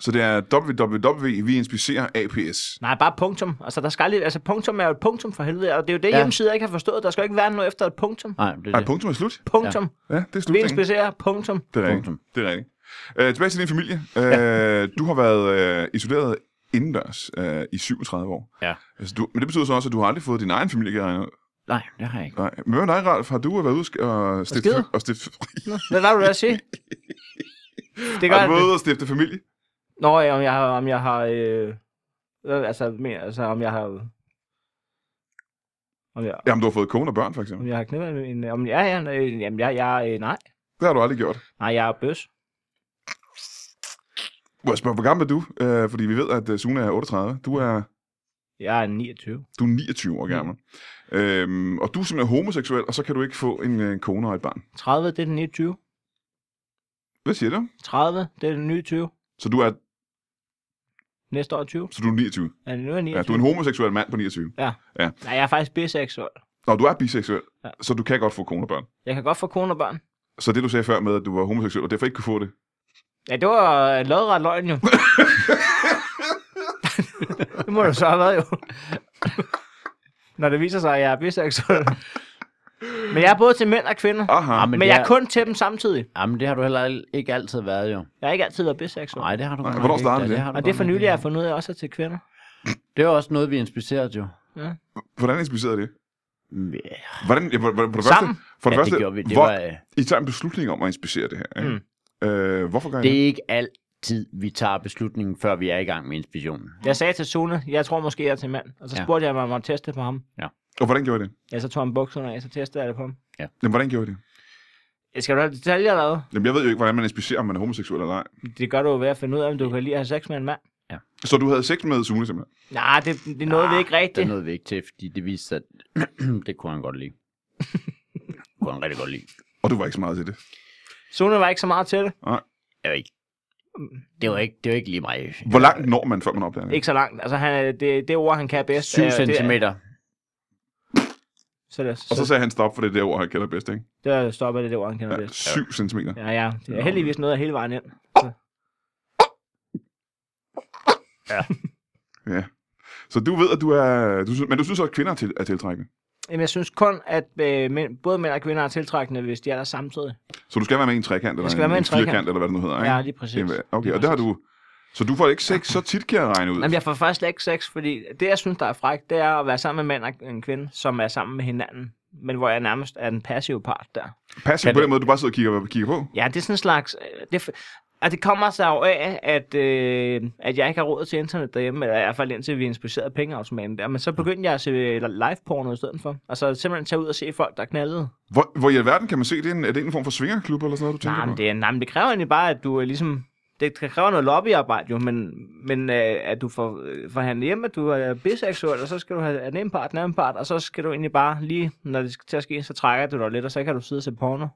Så det er www.viinspicerer. APS.
Nej, bare punktum. Altså, der skal aldrig, altså, punktum er jo et punktum for helvede, og det er jo det,
Ja.
ja. hjemmesider ikke har forstået. Der skal jo ikke være noget efter et punktum.
Nej, det er
Ej,
det.
punktum er slut.
Punktum. Ja.
Ja, det er slut.
Vi
ikke?
inspicerer. Punktum.
Det er rigtigt.
Punktum.
Det er rigtigt. Øh, tilbage til din familie. Øh, du har været øh, isoleret indendørs øh, i 37 år.
Ja.
Altså, du, men det betyder så også, at du har aldrig fået din egen familie. kan jeg regne ud.
Nej, det har jeg ikke.
Nej. Men hvad med dig, Ralf? Har du været ude og sk- og stifte,
skide?
og stifte,
Hvad var det, du vil sige? Det gør
har du været
det.
ude og stifte familie?
Nå, ja, om jeg har... Om jeg har øh, øh, altså, mere, altså, om jeg har... Om jeg,
Jamen, du har fået kone og børn, for eksempel.
om jeg har knippet en... Om, ja, ja, øh, jamen, jeg, jeg, øh, nej.
Det har du aldrig gjort.
Nej, jeg er bøs.
Må jeg spørge, hvor gammel er du? Øh, fordi vi ved, at øh, Sune er 38. Du er
Jeg er 29.
Du er 29 år gammel.
Mm.
Øhm, og du er simpelthen homoseksuel, og så kan du ikke få en, øh, en kone og et barn.
30, det er den 29.
Hvad siger du?
30, det er den nye 20.
Så du er,
Næste år er 20.
så du er 29.
Ja, nu er jeg 29.
Ja, du er en homoseksuel mand på 29.
Nej, jeg er faktisk biseksuel.
Nå, du er biseksuel, ja.
Ja.
så du kan godt få kone og børn.
Jeg kan godt få kone og børn.
Så det, du sagde før med, at du var homoseksuel, og derfor ikke kunne få det.
Ja, det var øh, lodret løgn jo. det må du så have været jo. Når det viser sig, at jeg er biseksuel. Men jeg er både til mænd og kvinder.
Aha.
Ah,
Jamen,
Men jeg er
det
kun til dem samtidig.
Jamen, det har du heller al- ikke altid været, jo.
Jeg har ikke altid været biseksuel.
Nej, det har du
Nej,
godt
hvornår
nok
startede
ikke,
det?
da. har du
Og det
godt
er for
nok
nylig,
ikke.
jeg har fundet ud af, at jeg også er til kvinder.
Det er også noget, vi er inspireret, jo.
Hvordan inspicerede det?
Ja,
Hvordan, ja, for, for, for det
Sammen.
første, for det
ja,
første
det gjorde vi. Det,
hvor,
var, øh,
I tager en beslutning om at inspicere det her. Ikke? Mm. Øh, hvorfor gør I
det
det?
er ikke altid, vi tager beslutningen, før vi er i gang med inspirationen.
Jeg sagde til Sune, jeg tror måske, jeg er til mand. Og så
Ja.
spurgte jeg mig, om jeg måtte teste på ham.
Og hvordan gjorde I det?
Ja, så tog han bukserne af, så testede jeg det på ham.
Jamen, hvordan gjorde I det?
Skal du have detaljer eller hvad?
Jamen, jeg ved jo ikke, hvordan man inspicerer, om man er homoseksuel eller ej.
Det gør du jo ved at finde ud af, om du kan lide at have sex med en mand.
Så du havde sex med Sune simpelthen?
Nej, det, det nåede vi ikke
Det
rigtigt.
nåede vi ikke til, fordi det viste sig, at det kunne han godt lide. det kunne han rigtig godt lide.
Og du var ikke så meget til det.
Sune var ikke så meget til det.
Jeg ved ikke.
Mm.
Det var ikke, det var ikke lige mig.
Hvor langt når man, før man opdager det?
Ikke så langt. Altså, han, er- det, det ord, han kan bedst.
7
øh, det er-
centimeter.
Så, der,
Og så
så, så,
sagde han stop for det der ord, han kender bedst, ikke?
der stopper det, det ord, han kender
Ja,
bedst.
7 centimeter.
Ja, ja. Det er heldigvis noget af hele vejen ind.
Så du ved, at du er... Du synes, men du synes også, at kvinder er, til, er tiltrækkende.
Jamen, jeg synes kun, at øh, mænd, både mænd og kvinder er tiltrækkende, hvis de er der samtidig.
Så du skal være med i en trekant, eller
skal være med i en trekant.
firkant, eller hvad det nu hedder, ikke?
Ja, lige præcis.
Jamen, Okay,
Lige
og der har
præcis.
du... Så du får ikke sex så tit, kan jeg regne ud.
Jamen, jeg får faktisk slet ikke sex, fordi det, jeg synes, der er frækt, det er at være sammen med en mand og en kvinde, som er sammen med hinanden. Men hvor jeg nærmest er den passive part der.
Passiv
Kan
på
det-
den måde, du bare sidder og kigger, kigger på.
Ja, det er sådan en slags... øh, Det, og det kommer sig jo af, at, øh, at jeg ikke har råd til internet derhjemme, eller i hvert fald indtil vi inspicerede pengeautomaten der. Men så begyndte jeg at se øh, live porno i stedet for. Og så simpelthen tage ud og se folk, der knaldede.
Hvor, hvor i alverden kan man se det? Er en- Er det en form for svingerklub eller sådan noget, du tænker
Nej, men
på?
det, nej, men det kræver egentlig bare, at du er ligesom... Det det kræver noget lobbyarbejde jo, men, men øh, at du får øh, forhandlet hjem, at du er biseksuel, og så skal du have den ene part, den anden part, og så skal du egentlig bare lige, når det skal til at ske, så trækker du dig lidt, og så kan du sidde og se porno.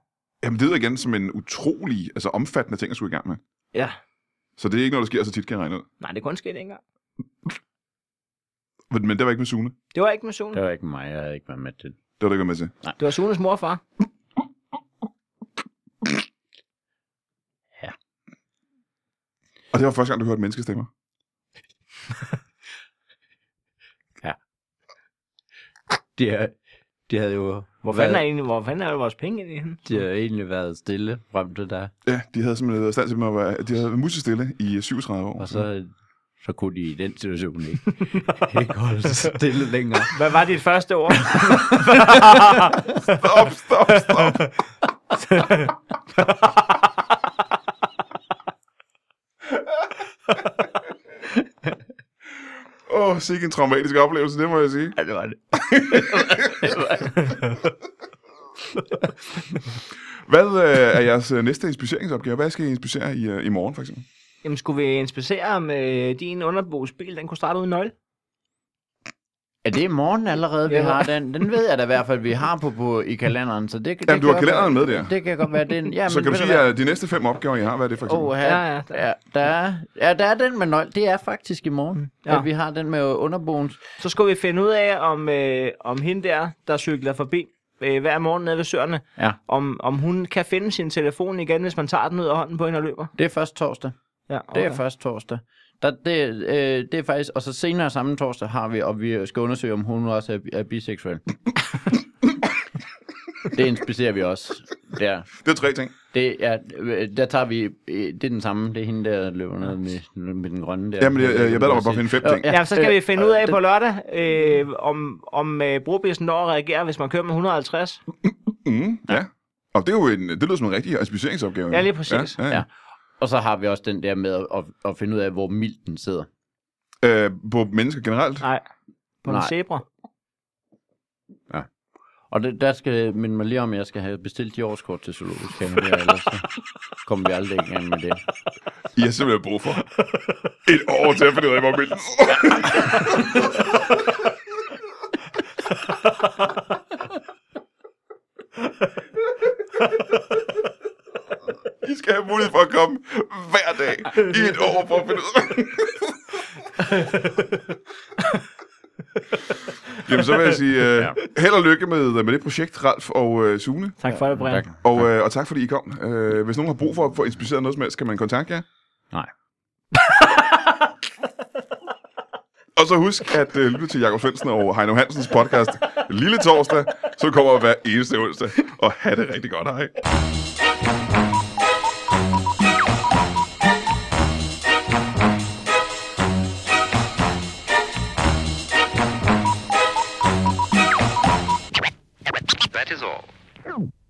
Jamen, det lyder igen som en utrolig, altså omfattende ting, at skulle i gang med.
Ja.
Så det er ikke noget, der sker så tit, kan jeg regne ud.
Nej, det kunne ske det ikke engang.
Men- Men det var ikke med Sune.
Det var ikke med Sune.
Det var ikke mig, jeg havde ikke været med til det.
Det var du ikke med til.
Det var Sunes morfar.
Og det var første gang, du hørte menneskestemmer.
De, har- de havde jo
Hvor fanden er, egentlig, hvor fanden er vores penge egentlig henne?
de havde egentlig været stille frem til der.
Ja, de havde simpelthen været i stand til at være, de havde været musestille i 37 år.
Og så,
Mm.
så kunne de i den situation ikke, ikke holde sig stille længere.
Hvad var dit første ord?
Stop, stop, stop. Åh, oh, sikke en traumatisk oplevelse, det må jeg sige.
Ja, det var det.
Hvad øh, er jeres øh, næste inspiceringsopgave? Hvad skal I inspicere i, øh, i morgen, for eksempel?
Jamen, skulle vi inspicere om øh, din underbogsbil, den kunne starte uden nøgle?
Er det i morgen allerede, vi
Ja.
har den? Den ved jeg da i hvert fald, vi har på, på i kalenderen. Så det, det
Jamen,
kan
du har
godt være-
kalenderen med der.
Det kan godt være den. Jamen,
så kan du sige, at de næste fem opgaver, I har, hvad er det for eksempel?
Oh,
Oh,
her,
Ja, ja, der-
ja, der, er, ja, der er den med nøgle. Det er faktisk i
Mm.
morgen, ja.
Ja.
at vi har den med underbogens.
Så skulle vi finde ud af, om, øh, om hende der, der cykler forbi øh, hver morgen nede ved Søerne,
Ja.
om, om hun kan finde sin telefon igen, hvis man tager den ud af hånden på hende og løber.
Det er først torsdag.
Ja,
Det er først torsdag. Der, det, øh, det er faktisk, og så senere samme torsdag har vi, og vi skal undersøge, om hun også er, er biseksuel. det inspicerer vi også. Der.
det er tre ting.
Det er, øh, der tager vi, øh, det er den samme, det er hende, der løber ned med, med den grønne der.
Jamen, jeg- jeg- jeg bad dig om at bare finde fem ting.
Ja, så skal
øh,
vi finde ud af
øh,
på lørdag, øh, om, om øh, brobisen når at reagere, hvis man kører med 150.
Mm, ja. Og det, er jo en, det lyder som en rigtig inspiceringsopgave.
Ja, lige præcis.
Ja, ja,
Ja. Og så har vi også den der med at, at, at finde ud af, hvor mild den sidder.
ja. Øh, på mennesker generelt.
Nej, på en
Nej.
zebra.
Og det, der skal minde mig lige om, at jeg skal have bestilt de årskort til zoologisk have, ellers så kommer vi aldrig i gang med det.
I har simpelthen brug for et år til at finde ud af, hvor mildt. mulighed for at komme hver dag i et år for at finde ud af. Jamen, så vil jeg sige uh, held og lykke med, øh, med det projekt, Ralf og uh, Sune.
Tak for det, Brian.
Og, uh, og tak fordi I kom. Uh, hvis nogen har brug for at få inspireret noget som helst, kan man kontakte jer.
Nej.
Og så husk at uh, lytte til Jakob Svendsen og Heino Hansens podcast Lille Torsdag, så kommer hver eneste onsdag. Og have det rigtig godt, hej.
That is all.